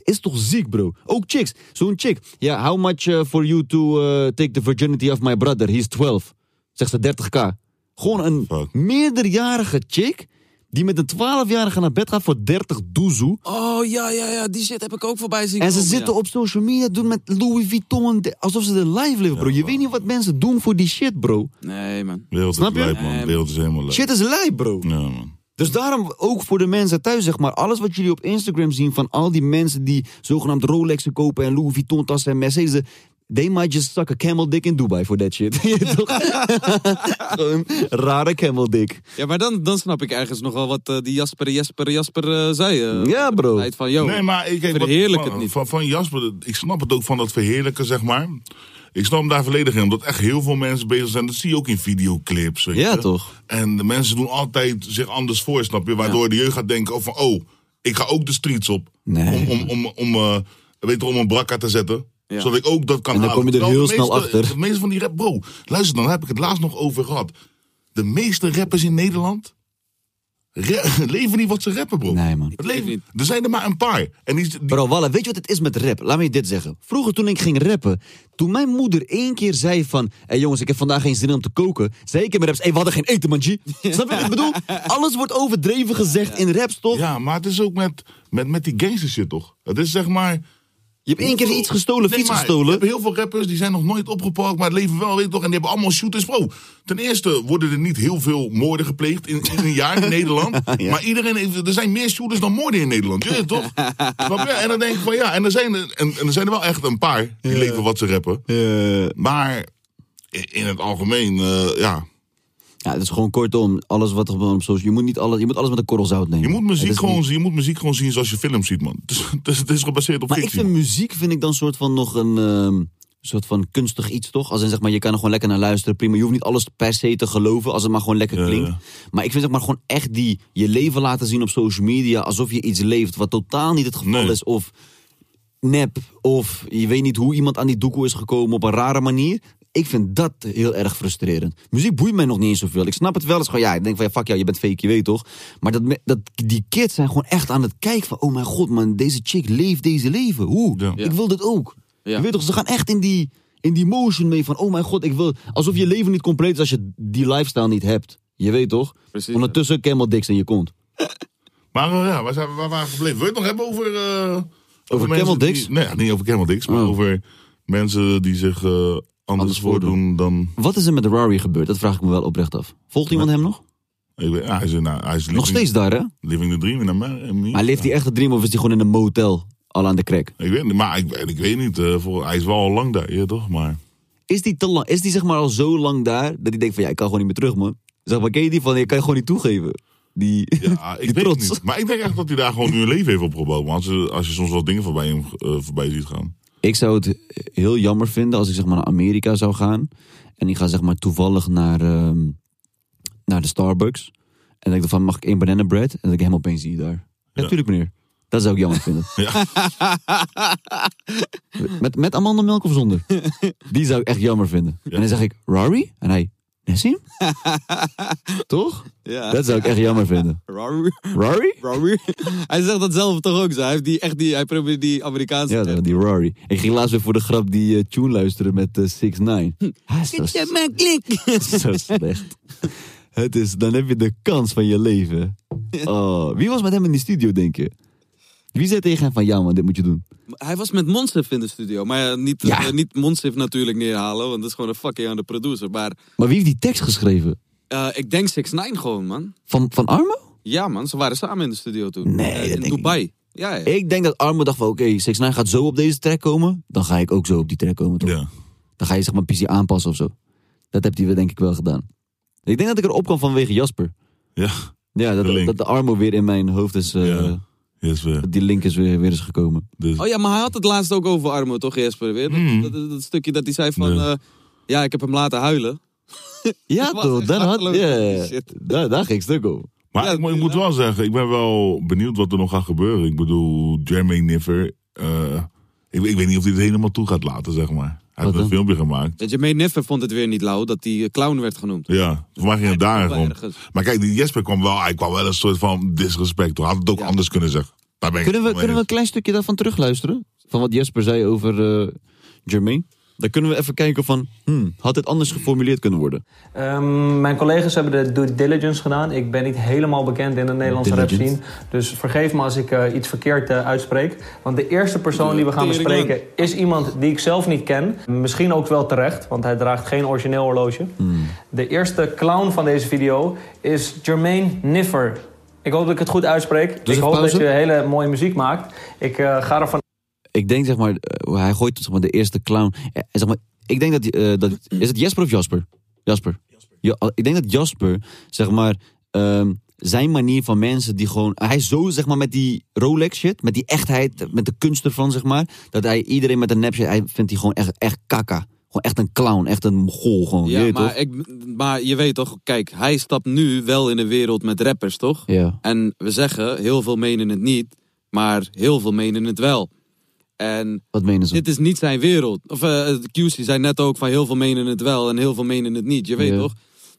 S4: Is toch ziek, bro? Ook chicks. Zo'n chick. Ja, how much eh, for you to eh, take the virginity of my brother? He's 12. Zegt ze 30k. Gewoon een meerderjarige chick die met een 12-jarige naar bed gaat voor 30 doezoe.
S3: Oh ja, ja, ja, die shit heb ik ook voorbij zien.
S4: En ze zitten op social media doen met Louis Vuitton. de- Alsof ze de live leven, bro. Je weet niet wat mensen doen voor die shit, bro.
S3: Nee, man.
S2: Wereld is
S4: Snap je?
S2: lijp, man. Wereld is helemaal lijp.
S4: Shit is lijp, bro.
S2: Ja, man.
S4: Dus daarom ook voor de mensen thuis, zeg maar. Alles wat jullie op Instagram zien van al die mensen die zogenaamd Rolexen kopen en Louis Vuitton tassen en Mercedes. They might just suck a camel dick in Dubai for that shit. Je weet toch? Gewoon rare camel dick.
S3: Ja, maar dan, dan snap ik ergens nog wel wat eh, die Jasper, Jasper, Jasper eh, zei. eh.
S4: Ja, bro.
S3: Hij van, yo,
S2: nee, maar ik kijk, wat-
S3: verheerlijk
S2: van,
S3: het niet.
S2: Van, van Jasper, ik snap het ook van dat verheerlijken, zeg maar. Ik snap hem daar volledig in, omdat echt heel veel mensen bezig zijn. Dat zie je ook in videoclips. weet
S4: Ja,
S2: je.
S4: toch?
S2: En de mensen doen altijd zich anders voor, snap je? Waardoor de jeugd gaat denken: oh, van, oh, ik ga ook de streets op. Om, om, om, om, eh, weet je, om een brakka te zetten.
S4: Ja.
S2: Zodat ik ook dat kan
S4: En dan
S2: halen.
S4: kom je er
S2: Terwijl
S4: heel
S2: de
S4: snel
S2: meeste-
S4: achter.
S2: De meeste van die rap, bro, luister dan, daar heb ik het laatst nog over gehad. De meeste rappers in Nederland Ra- leven niet wat ze rappen, bro.
S4: Nee, man.
S2: Het leven, er zijn er maar een paar. En die, die-
S4: Bro, Walle, weet je wat het is met rap? Laat me je dit zeggen. Vroeger toen ik ging rappen, toen mijn moeder één keer zei van... Hé jongens, ik heb vandaag geen zin om te koken. Zei ik in mijn raps, hé, we hadden geen eten, man, G. Snap je wat ik bedoel? Alles wordt overdreven gezegd in raps, toch?
S2: Ja, maar het is ook met, met, met die gangster shit, toch? Het is zeg maar...
S4: Je hebt één keer iets gestolen,
S2: Nee,
S4: fiets
S2: maar
S4: gestolen.
S2: Je hebt heel veel rappers die zijn nog nooit opgepakt, maar het leven wel, weet je toch? En die hebben allemaal shooters. Bro, ten eerste worden er niet heel veel moorden gepleegd in, in een jaar in Nederland.
S4: Ja.
S2: Maar iedereen heeft, er zijn meer shooters dan moorden in Nederland. Je weet het toch? Snap je? En dan denk ik van ja, en er zijn er, en, en er, zijn er wel echt een paar die leven wat ze rappen.
S4: Eh,
S2: Maar i- in het algemeen, eh, ja...
S4: Ja, het is gewoon kortom, alles wat er op social... Je moet, niet alles, je moet alles met een korrel zout nemen.
S2: Je moet,
S4: Het
S2: muziek
S4: is
S2: gewoon,
S4: niet-
S2: zien- je moet muziek gewoon zien zoals je films ziet, man. Het is, het is, het is gebaseerd op
S4: Maar ik
S2: fictie.
S4: vind muziek vind ik dan soort van nog een... ehm, soort van kunstig iets, toch? Als in, zeg maar, je kan er gewoon lekker naar luisteren, prima. Je hoeft niet alles per se te geloven, als het maar gewoon lekker klinkt. Maar ik vind, zeg maar, gewoon echt die... Je leven laten zien op social media, alsof je iets leeft... wat totaal niet het geval is, of nep... of je weet niet hoe iemand aan die doekoe is gekomen op een rare manier... Ik vind dat heel erg frustrerend. Muziek boeit mij nog niet eens zoveel. Ik snap het wel eens gewoon, ja, ik denk van, ja, fuck jou, je bent fake, je weet toch? Maar dat, me- dat, die kids zijn gewoon echt aan het kijken van, oh mijn god, man, deze chick leeft deze leven. Hoe? Ik wil dit ook. Je weet toch, ze gaan echt in die, in die motion mee van, oh mijn god, ik wil... Alsof je leven niet compleet is als je die lifestyle niet hebt. Je weet toch? Ondertussen camel dicks in je kont.
S2: Maar eh, ja, waar, zijn, we- waar waren we gebleven? Wil je het nog hebben over... eh over
S4: Camel
S2: mensen die-
S4: Dicks? Oh.
S2: nee, ja, niet over Camel Dicks, maar over mensen die zich eh, anders voordoen dan...
S4: Wat is er met Rari gebeurd? Dat vraag ik me wel oprecht af. Volgt iemand hem nog?
S2: Ik weet, ja, hij is, nou, hij is
S4: Nog steeds daar, hè?
S2: Living the dream in Amerika.
S4: Maar leeft hij echt de dream of is hij gewoon in een motel? Al aan de crack.
S2: Ik weet niet, maar ik, ik weet niet. eh, voor, hij is wel al lang daar, ja, toch? Maar
S4: Is die, te lang, is die zeg maar al zo lang daar dat hij denkt van ja, ik kan gewoon niet meer terug, man. Zeg maar, ken je die van, je kan je gewoon niet toegeven. Die,
S2: ja, ik weet het niet. Maar ik denk echt dat hij daar gewoon nu een leven heeft opgebouwd. Maar als, je- als je soms wel dingen voorbij hem eh, voorbij ziet gaan.
S4: Ik zou het heel jammer vinden als ik zeg maar naar Amerika zou gaan. En ik ga zeg maar toevallig naar, ehm, naar de Starbucks. En dan denk ik van, mag ik één banana bread? En dat ik hem opeens zie daar. Ja, tuurlijk meneer. Dat zou ik jammer vinden. met, met amandelmelk of zonder? Die zou ik echt jammer vinden. En dan zeg ik, Rari? En hij, Nassim? Toch?
S3: Ja.
S4: Dat zou ik echt jammer vinden.
S3: Rory?
S4: Rory?
S3: Rory? Hij zegt dat zelf toch ook zo. Hij, heeft die, echt die, hij probeert die Amerikaanse...
S4: Ja, die Rory. Ik ging laatst weer voor de grap die eh, tune luisteren met 6 ix 9 Zo slecht. Het is, dan heb je de kans van je leven. Oh, wie was met hem in die studio, denk je? Wie zei tegen hem van, ja man, dit moet je doen?
S3: Hij was met Monsif in de studio. Maar ja, niet, eh, niet Monsif natuurlijk neerhalen, want dat is gewoon een fucking aan de producer. Maar
S4: Maar wie heeft die tekst geschreven?
S3: eh, ik denk 6 9 gewoon, man.
S4: Van, van Armo?
S3: Ja, man. Ze waren samen in de studio toen. Nee, In Dubai. Ja, ja.
S4: Ik denk dat Armo dacht van, oké, 6 ix 9 gaat zo op deze track komen. Dan ga ik ook zo op die track komen, toch? Dan ga je zeg maar PC aanpassen of zo. Dat heeft hij wel, denk ik wel gedaan. Ik denk dat ik erop kwam vanwege Jasper.
S2: Ja.
S4: Ja, dat de, dat de Armo weer in mijn hoofd is... eh, dat Die link is weer, weer eens gekomen.
S3: Oh ja, maar hij had het laatst ook over Armo, toch, Jesper? Weer? Dat, dat, dat- dat stukje dat hij zei van... eh, ja, ik heb hem laten huilen.
S4: Ja,
S3: was
S4: toch?
S3: echt
S4: Daar, had,
S3: achterloos.
S4: ja, daar, daar ging ik stuk op.
S2: Maar ik, moet- ik moet wel zeggen, ik ben wel benieuwd wat er nog gaat gebeuren. Ik bedoel, Jeremy Niffer. eh, ik, ik weet niet of hij het helemaal toe gaat laten, zeg maar. Hij heeft een filmpje gemaakt.
S3: Dat Jermaine Neffer vond het weer niet lauw dat hij eh, clown werd genoemd.
S2: Ja, voor mij ging het daar
S3: wel
S2: gewoon.
S3: ergens.
S2: Maar kijk, die Jesper kwam wel, hij kwam wel een soort van disrespect. Hij had het ook anders kunnen zeggen. Daar ben ik
S4: Kunnen we,
S2: het wel
S4: kunnen we een
S2: mee
S4: klein stukje daarvan terugluisteren? Van wat Jesper zei over eh Jermaine? Dan kunnen we even kijken van, hmm, had dit anders geformuleerd kunnen worden?
S13: Ehm, mijn collega's hebben de due diligence gedaan. Ik ben niet helemaal bekend in de Nederlandse rap
S4: Diligence.
S13: scene. Dus vergeef me als ik eh, iets verkeerd eh, uitspreek. Want de eerste persoon die we gaan
S14: Tering,
S13: bespreken is iemand die ik zelf niet ken. Misschien ook wel terecht, want hij draagt geen origineel horloge.
S4: Hmm. Dus
S13: De eerste clown van deze video is Jermaine Niffer. Ik hoop dat ik het goed uitspreek.
S4: Dus
S13: ik
S4: even
S13: hoop
S4: pauze.
S13: dat je hele mooie muziek maakt. Ik eh, ga ervan
S4: Ik denk zeg maar, eh, hij gooit zeg maar, de eerste clown. Eh, zeg maar, ik denk dat, eh, dat, is het Jesper of Jasper? Jasper. Ja, eh, ik denk dat Jasper, zeg maar, ehm, zijn manier van mensen die gewoon... Hij is zo, zeg maar, met die Rolex shit, met die echtheid, met de kunst ervan, zeg maar. Dat hij iedereen met een nep shit, hij vindt die gewoon echt, echt kakka. Gewoon echt een clown, echt een mogol gewoon.
S3: Ja,
S4: je weet
S3: maar,
S4: toch?
S3: ik, maar je weet toch, kijk, hij stapt nu wel in een wereld met rappers, toch?
S4: Ja.
S3: En we zeggen, heel veel menen het niet, maar heel veel menen het wel. En
S4: Wat menen ze?
S3: dit is niet zijn wereld. Of eh, QC zei net ook van heel veel menen het wel en heel veel menen het niet, je weet
S4: Ja.
S3: toch?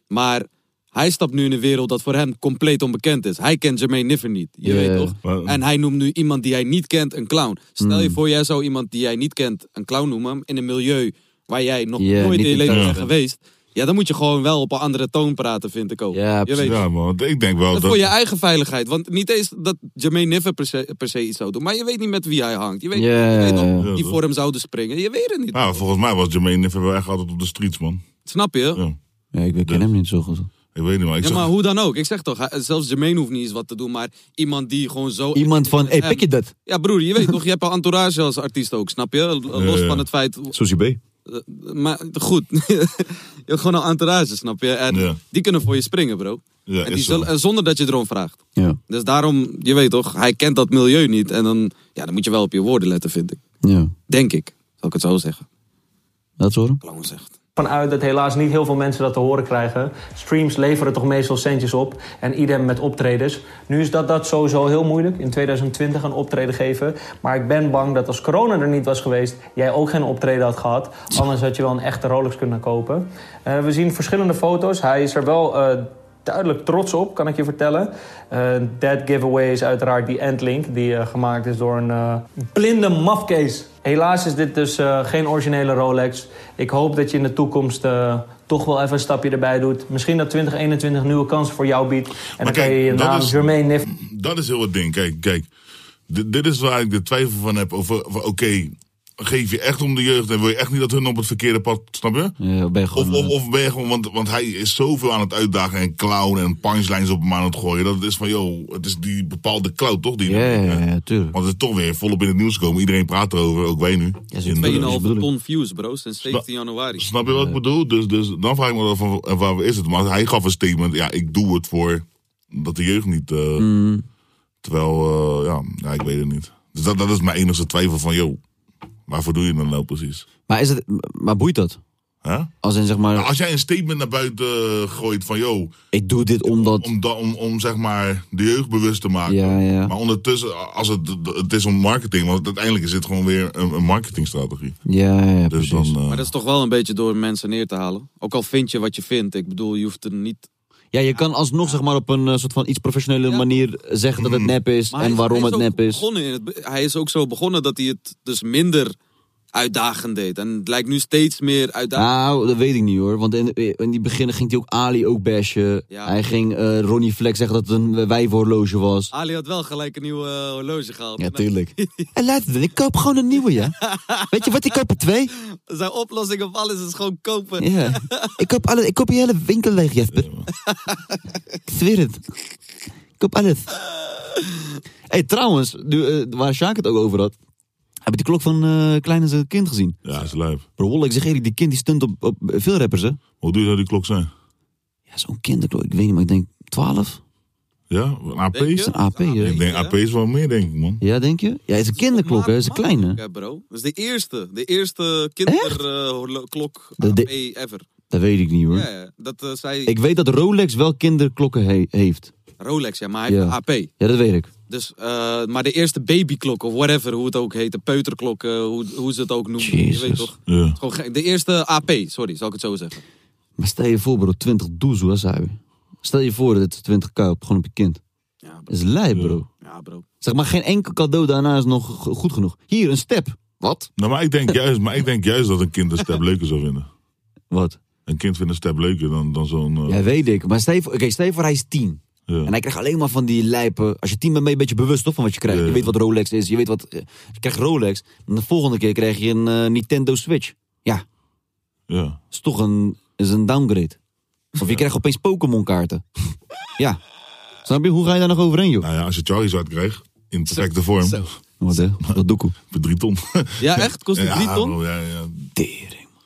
S3: Maar hij stapt nu in een wereld dat voor hem compleet onbekend is. Hij kent Jermaine Niffer niet, je
S4: Ja,
S3: weet
S4: ja.
S3: toch? En hij noemt nu iemand die hij niet kent een clown. Stel je voor, jij zou iemand die jij niet kent een clown noemen in een milieu waar jij nog
S2: Ja,
S3: nooit in
S2: niet
S3: je
S2: in
S3: leven
S2: thuis
S3: bent
S2: bent.
S3: geweest. Ja, dan moet je gewoon wel op een andere toon praten, vind ik ook. Ja, je weet,
S2: Ja, man, want ik denk wel
S3: dat
S2: dat...
S3: voor je eigen veiligheid. Want niet eens dat Jermaine Niffer per se, per se iets zou doen. Maar je weet niet met wie hij hangt. Je weet,
S2: Ja,
S3: je weet
S2: ja, ja.
S3: of
S2: Ja,
S3: die
S2: toch?
S3: voor hem zouden springen. Je weet het niet.
S2: Ja, Nou, volgens mij was Jermaine Niffer wel echt altijd op de streets, man.
S3: Snap je?
S2: Ja.
S4: ik ken hem niet zo goed.
S2: Ik weet niet, maar ik
S3: Ja,
S2: zag-
S3: maar hoe dan ook. Ik zeg toch, hij- zelfs Jermaine hoeft niet eens wat te doen. Maar iemand die gewoon zo...
S4: Iemand van, hey, pik je dat?
S3: Ja, broer, je weet toch, je hebt een entourage als artiest ook, snap je? Los
S4: ja.
S3: van het feit...
S4: Susie B.
S3: Eh, Maar goed, je hebt gewoon een entourage, snap je? En die kunnen voor je springen, bro.
S2: Ja,
S3: en
S2: is
S3: die
S2: zo.
S3: zullen, en zonder dat je erom vraagt.
S4: Ja.
S3: Dus daarom, je weet toch, hij kent dat milieu niet. En dan, ja, dan moet je wel op je woorden letten, vind ik.
S4: Ja.
S3: Denk ik, zal ik het zo zeggen.
S4: Dat horen?
S13: vanuit dat helaas niet heel veel mensen dat te horen krijgen. Streams leveren toch meestal centjes op. En idem met optredens. Nu is dat, dat sowieso heel moeilijk. In 2020 een optreden geven. Maar ik ben bang dat als corona er niet was geweest... jij ook geen optreden had gehad. Anders Dus had je wel een echte Rolex kunnen kopen. Eh, we zien verschillende foto's. Hij is er wel... eh, Duidelijk trots op, kan ik je vertellen. Eh that giveaway is uiteraard die endlink die eh, gemaakt is door een eh, blinde mafkees. Helaas is dit dus eh, geen originele Rolex. Ik hoop dat je in de toekomst eh, toch wel even een stapje erbij doet. Misschien dat 2021 nieuwe kansen voor jou biedt. En dan
S2: kijk,
S13: kan je je
S2: dat
S13: naam
S2: is-
S13: Jermaine Nif...
S2: dat is heel het ding. Kijk, kijk. Dit, dit is waar ik de twijfel van heb over, over, oké, geef je echt om de jeugd en wil je echt niet dat hun op het verkeerde pad, snap je?
S4: Ja, ben je
S2: Of,
S4: gewoon...
S2: of, of ben je gewoon, want, want hij is zoveel aan het uitdagen en clown en punchlines op hem aan het gooien. Dat het is van, joh, het is die bepaalde clown toch? Die,
S4: Ja, ja, ja, tuurlijk.
S2: Want het is toch weer volop in het nieuws gekomen. Iedereen praat erover, ook wij nu. In, eh,
S3: 2,5 ton views, bro, sinds 17 januari.
S2: Snap je wat ik bedoel? Dus, dus dan vraag ik me af van, en waar is het? Maar hij gaf een statement, ja, ik doe het voor dat de jeugd niet... eh,
S4: Mm.
S2: Terwijl, eh, ja, ja, ik weet het niet. Dus dat, dat is mijn enige twijfel van, joh, waarvoor doe je dat nou precies?
S4: Maar, is het, maar boeit dat?
S2: Hè?
S4: Als in zeg maar...
S2: Nou, als jij een statement naar buiten eh, gooit van, joh...
S4: Ik doe dit omdat...
S2: Om, da- om, om, zeg maar, de jeugd bewust te maken.
S4: Ja, ja.
S2: Maar ondertussen, als het, het is om marketing, want uiteindelijk is dit gewoon weer een, een marketingstrategie.
S4: Ja, ja, ja,
S2: Dus dan... eh,
S3: Maar dat is toch wel een beetje door mensen neer te halen. Ook al vind je wat je vindt. Ik bedoel, je hoeft er niet...
S4: Ja, je kan alsnog zeg maar op een eh, soort van iets professionele manier zeggen dat het
S2: Mm.
S4: nep is
S3: Maar hij
S4: en
S3: is-
S4: waarom
S3: hij is
S4: het
S3: ook
S4: nep is.
S3: Begonnen in het be- hij is ook zo begonnen dat hij het dus minder uitdagend deed. En het lijkt nu steeds meer uitdagend.
S4: Nou, dat weet ik niet hoor. Want in, in die beginnen ging hij ook Ali ook bashen. Hij ging eh, Ronnie Flex zeggen dat het een wijfhorloge was.
S3: Ali had wel gelijk een nieuw eh, horloge gehaald.
S4: Ah. Ja,
S3: En
S4: tuurlijk. en laat het dan, ik koop gewoon een nieuwe, ja. Weet je wat, ik koop er twee.
S3: Zijn oplossing op alles is gewoon kopen.
S4: Ja. Ik koop, alle, ik koop je hele winkel leeg, Jesper. ik zweer het. Ik koop alles. hey, trouwens, nu, eh, waar Sjaak het ook over had. Heb je de klok van eh Klein en zijn kind gezien?
S2: ja, is lijf.
S4: Bro, Wolle, ik zeg eerlijk, die kind die stunt op, op veel rappers, hè?
S2: Hoe duur zou die klok zijn?
S4: Ja, zo'n kinderklok, ik weet niet, maar ik denk 12.
S2: Ja, een AP?
S4: Denk je? Is een AP, ja.
S2: Ik denk, AP is wel meer, denk ik, man.
S4: eh. Ja, denk je? Ja, het is een kinderklok, hè? Het is een kleine.
S3: Ja, bro. Dat is de eerste. De eerste eh, kinderklok
S4: De-
S3: AP
S4: de-
S3: ever.
S4: Dat weet ik niet, hoor.
S3: Ja, ja. Dat eh, zei
S4: Ik weet dat Rolex wel kinderklokken he- heeft.
S3: Rolex, ja, maar hij
S4: Ja.
S3: heeft een AP.
S4: Ja, dat weet ik.
S3: Dus, eh, maar de eerste babyklok of whatever, hoe het ook heet. De peuterklok, eh, hoe, hoe ze het ook noemen.
S4: Jezus.
S3: Je weet toch?
S4: Ja.
S3: Het is gewoon gek. De eerste AP, sorry, zal ik het zo zeggen.
S4: Maar stel je voor, bro, 20 doezoe, hè, zei hij. Stel je voor dat het 20k op, gewoon op je kind. dat is lijp, bro.
S3: Ja, bro.
S4: Zeg maar, geen enkel cadeau daarna is nog go- goed genoeg. Hier, een step. Wat?
S2: Nou, maar ik denk juist, maar ik denk juist dat een kind een step leuker zou vinden.
S4: Wat?
S2: Een kind vindt een step leuker dan, dan zo'n... eh,
S4: Ja, weet ik. Maar stel je voor, oké, stel je voor hij is 10. En hij krijgt alleen maar van die lijpen. Als je 10 bent, ben je een beetje bewust toch, van wat je krijgt. Je weet wat Rolex is, je weet wat... eh, Je krijgt Rolex. En de volgende keer krijg je een eh, Nintendo Switch. Ja,
S2: ja.
S4: is toch een, is een downgrade. Of je krijgt opeens Pokémon kaarten. ja. Snap je? Hoe ga je daar nog overheen, joh?
S2: Nou ja, als je Charizard krijgt, in perfecte vorm.
S4: Wat hè? Dat doekoe.
S2: Voor drie ton.
S3: Ja, echt? Kost het
S2: Ja,
S3: drie ton?
S2: bro, Ja, ja.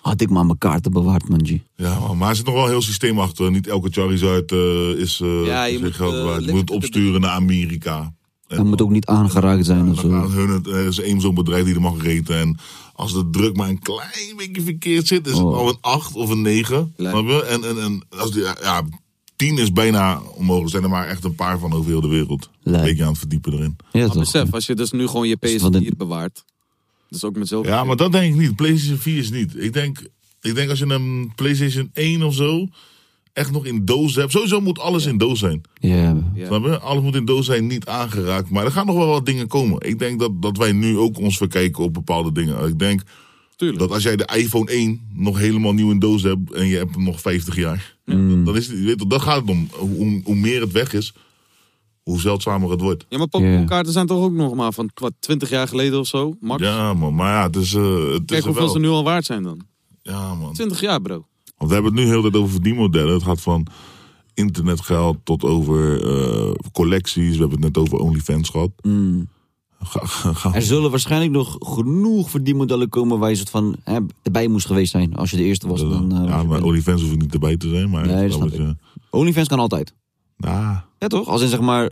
S4: Had ik maar mijn kaarten bewaard, man, G.
S2: ja man, maar er zit nog wel een heel systeem achter. Niet elke Charizard eh, is eh
S3: Ja, je
S2: is
S3: moet,
S2: geld
S3: eh,
S2: waard. Je
S3: limited
S2: moet het opsturen naar Amerika.
S4: Hij moet ook niet aangeraakt zijn of zo.
S2: Aan hun, het- er is één zo'n bedrijf die er mag reten. En als de druk maar een klein beetje verkeerd zit, is het
S4: Oh.
S2: al een 8 of een 9. Snap je? En, en, en als die, ja, 10 is bijna onmogelijk. Er zijn er maar echt een paar van over heel de wereld. Een beetje aan het verdiepen erin.
S3: maar besef, als je dus nu gewoon je PS4 bewaart. Dus ook met zulke...
S2: Ja, maar dat denk ik niet. PlayStation 4 is niet. Ik denk, ik denk als je een PlayStation 1 of zo echt nog in doos hebt. Sowieso moet alles in doos zijn.
S4: Ja.
S2: Snap je? Alles moet in doos zijn, niet aangeraakt. Maar er gaan nog wel wat dingen komen. Ik denk dat, dat wij nu ook ons verkijken op bepaalde dingen. Ik denk dat als jij de iPhone 1 nog helemaal nieuw in doos hebt en je hebt hem nog 50 jaar.
S3: Mm.
S2: Dan, dan is het, je weet, toch, daar gaat het om. Hoe, hoe- hoe meer het weg is, hoe zeldzamer het wordt.
S3: Ja, maar Pokémon-kaarten zijn toch ook nog maar van wat, 20 jaar geleden of zo, max?
S2: Ja, man. Maar ja, het is, eh, het is
S3: Kijk
S2: er
S3: hoeveel
S2: wel.
S3: ze nu al waard zijn dan.
S2: Ja, man.
S3: 20 jaar, bro.
S2: Want we hebben het nu heel de tijd over verdienmodellen. Het gaat van internetgeld tot over eh, collecties. We hebben het net over OnlyFans gehad.
S3: Mm.
S2: Ga- ga- ga-
S4: Er zullen waarschijnlijk nog genoeg verdienmodellen komen waar je soort van hè, erbij moest geweest zijn. Als je de eerste was, dan... eh,
S2: ja, maar OnlyFans hoef ik niet erbij te zijn. Maar
S4: Nee, dat
S2: wel
S4: snap
S2: wat je-
S4: OnlyFans kan altijd.
S2: Ah.
S4: Ja, toch? Als in zeg maar...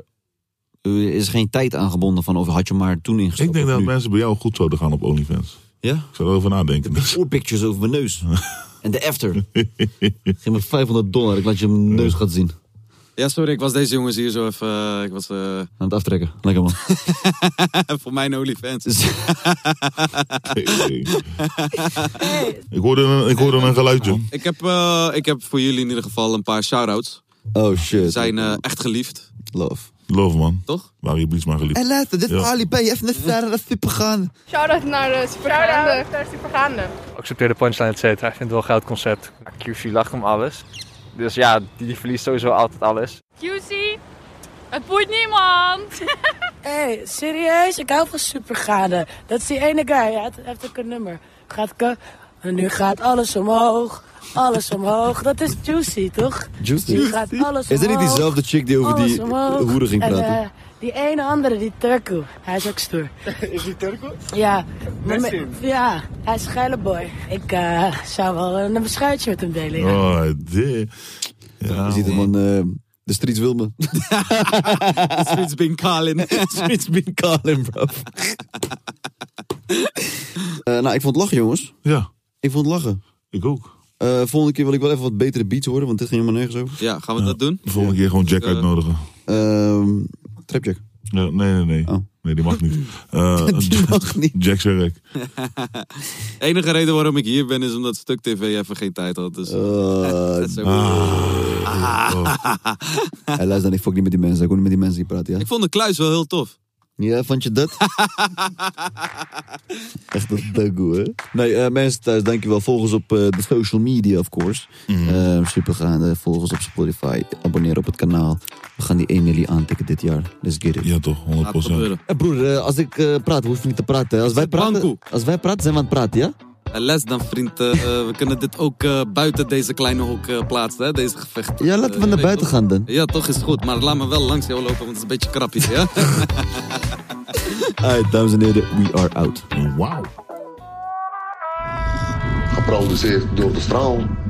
S4: eh, is geen tijd aangebonden van of had je maar toen ingestapt.
S2: Ik denk
S4: of
S2: dat
S4: nu.
S2: mensen bij jou goed zouden gaan op OnlyFans.
S4: Ja?
S2: Ik zou erover nadenken.
S4: Voorpictures over mijn neus. En de after. Geef me 500 dollar, ik laat je mijn neus gaat zien.
S3: Ja, sorry, ik was deze jongens hier zo even... eh, ik was eh,
S4: Aan het aftrekken. Lekker man.
S3: voor mijn OnlyFans.
S2: Ik hoorde een, ik hoorde een geluidje.
S3: ik, heb, eh, ik heb voor jullie in ieder geval een paar shout-outs.
S4: Oh shit.
S3: Ze zijn eh, echt geliefd.
S4: Love.
S2: Love, man.
S3: Toch?
S2: Waar je blieft maar geliefd. Ja.
S4: B. Even net verder naar Super gaan.
S14: Shout-out naar de Supergaande.
S15: accepteer de punchline, et cetera. Ik vind het wel een goud concept. QC lacht om alles. Dus ja, die, verliest sowieso altijd alles.
S14: QC, het boeit niemand.
S12: Hé, hey, serieus? Ik hou van supergade. Dat is die ene guy. Ja, het heeft ook een nummer. Gaat ke... En nu gaat alles omhoog. Alles omhoog. Dat is Juicy, toch?
S4: Juicy.
S12: Nu gaat alles
S4: Is dit niet
S12: omhoog,
S4: diezelfde chick die over
S12: alles
S4: die
S12: omhoog.
S4: hoeren ging
S12: En,
S4: praten?
S12: eh, die ene andere, die Turku. Hij is ook stoer.
S16: Is die Turco?
S12: Ja. maar
S16: Best
S12: me-
S16: in.
S12: ja, hij is een geile boy. Ik eh, zou wel een beschuitje met hem delen. ja.
S2: Oh, dit.
S4: Je ziet hem van eh, de streets wil me.
S3: De Streets been calling.
S4: Streets been calling, bro. Eh, nou, ik vond het lachen, jongens.
S2: Ja.
S4: Ik vond het lachen. Eh,
S2: Ik ook.
S4: volgende keer wil ik wel even wat betere beats horen, want dit ging helemaal nergens over.
S3: Ja, gaan we dat doen?
S2: De volgende keer gewoon Jack
S3: Eh,
S2: uitnodigen.
S4: Ehm Trapjack.
S2: Ja, nee, nee, nee.
S4: Oh.
S2: Nee, die mag niet. Eh, Jack Serrek.
S3: Enige reden waarom ik hier ben is omdat Stuk TV even geen tijd had. Dus.
S4: Oh, Eh,
S3: Dat is ook-
S4: Hij luister dan, ik fuck niet met die mensen. Ik hoor niet met die mensen die praten, ja.
S3: Ik vond de kluis wel heel tof.
S4: Ja, vond je dat? Echt dat dogo, hè? Nee, eh, mensen thuis, dankjewel. Volg ons op eh, de social media, of course. Eh, supergaande. Volg ons op Spotify. Abonneer op het kanaal. We gaan die 1 miljoen aantikken dit jaar. Let's get it.
S2: Ja, toch? 100 procent.
S4: Eh, broer, eh, als ik eh, praat, hoef je niet te praten. hè. Als wij praten, als wij praten zijn we aan het praten, ja?
S3: Eh, Les dan, vriend. eh, eh, we kunnen dit ook eh, buiten deze kleine hok eh, plaatsen, hè, deze gevecht. Eh,
S4: Ja, laten we naar buiten gaan dan.
S3: Ja, toch is goed. Maar laat me wel langs jou lopen, want het is een beetje krapjes, ja?
S4: Alright, dames en heren, we are out.
S2: Wauw.
S1: Geproduceerd door de straal.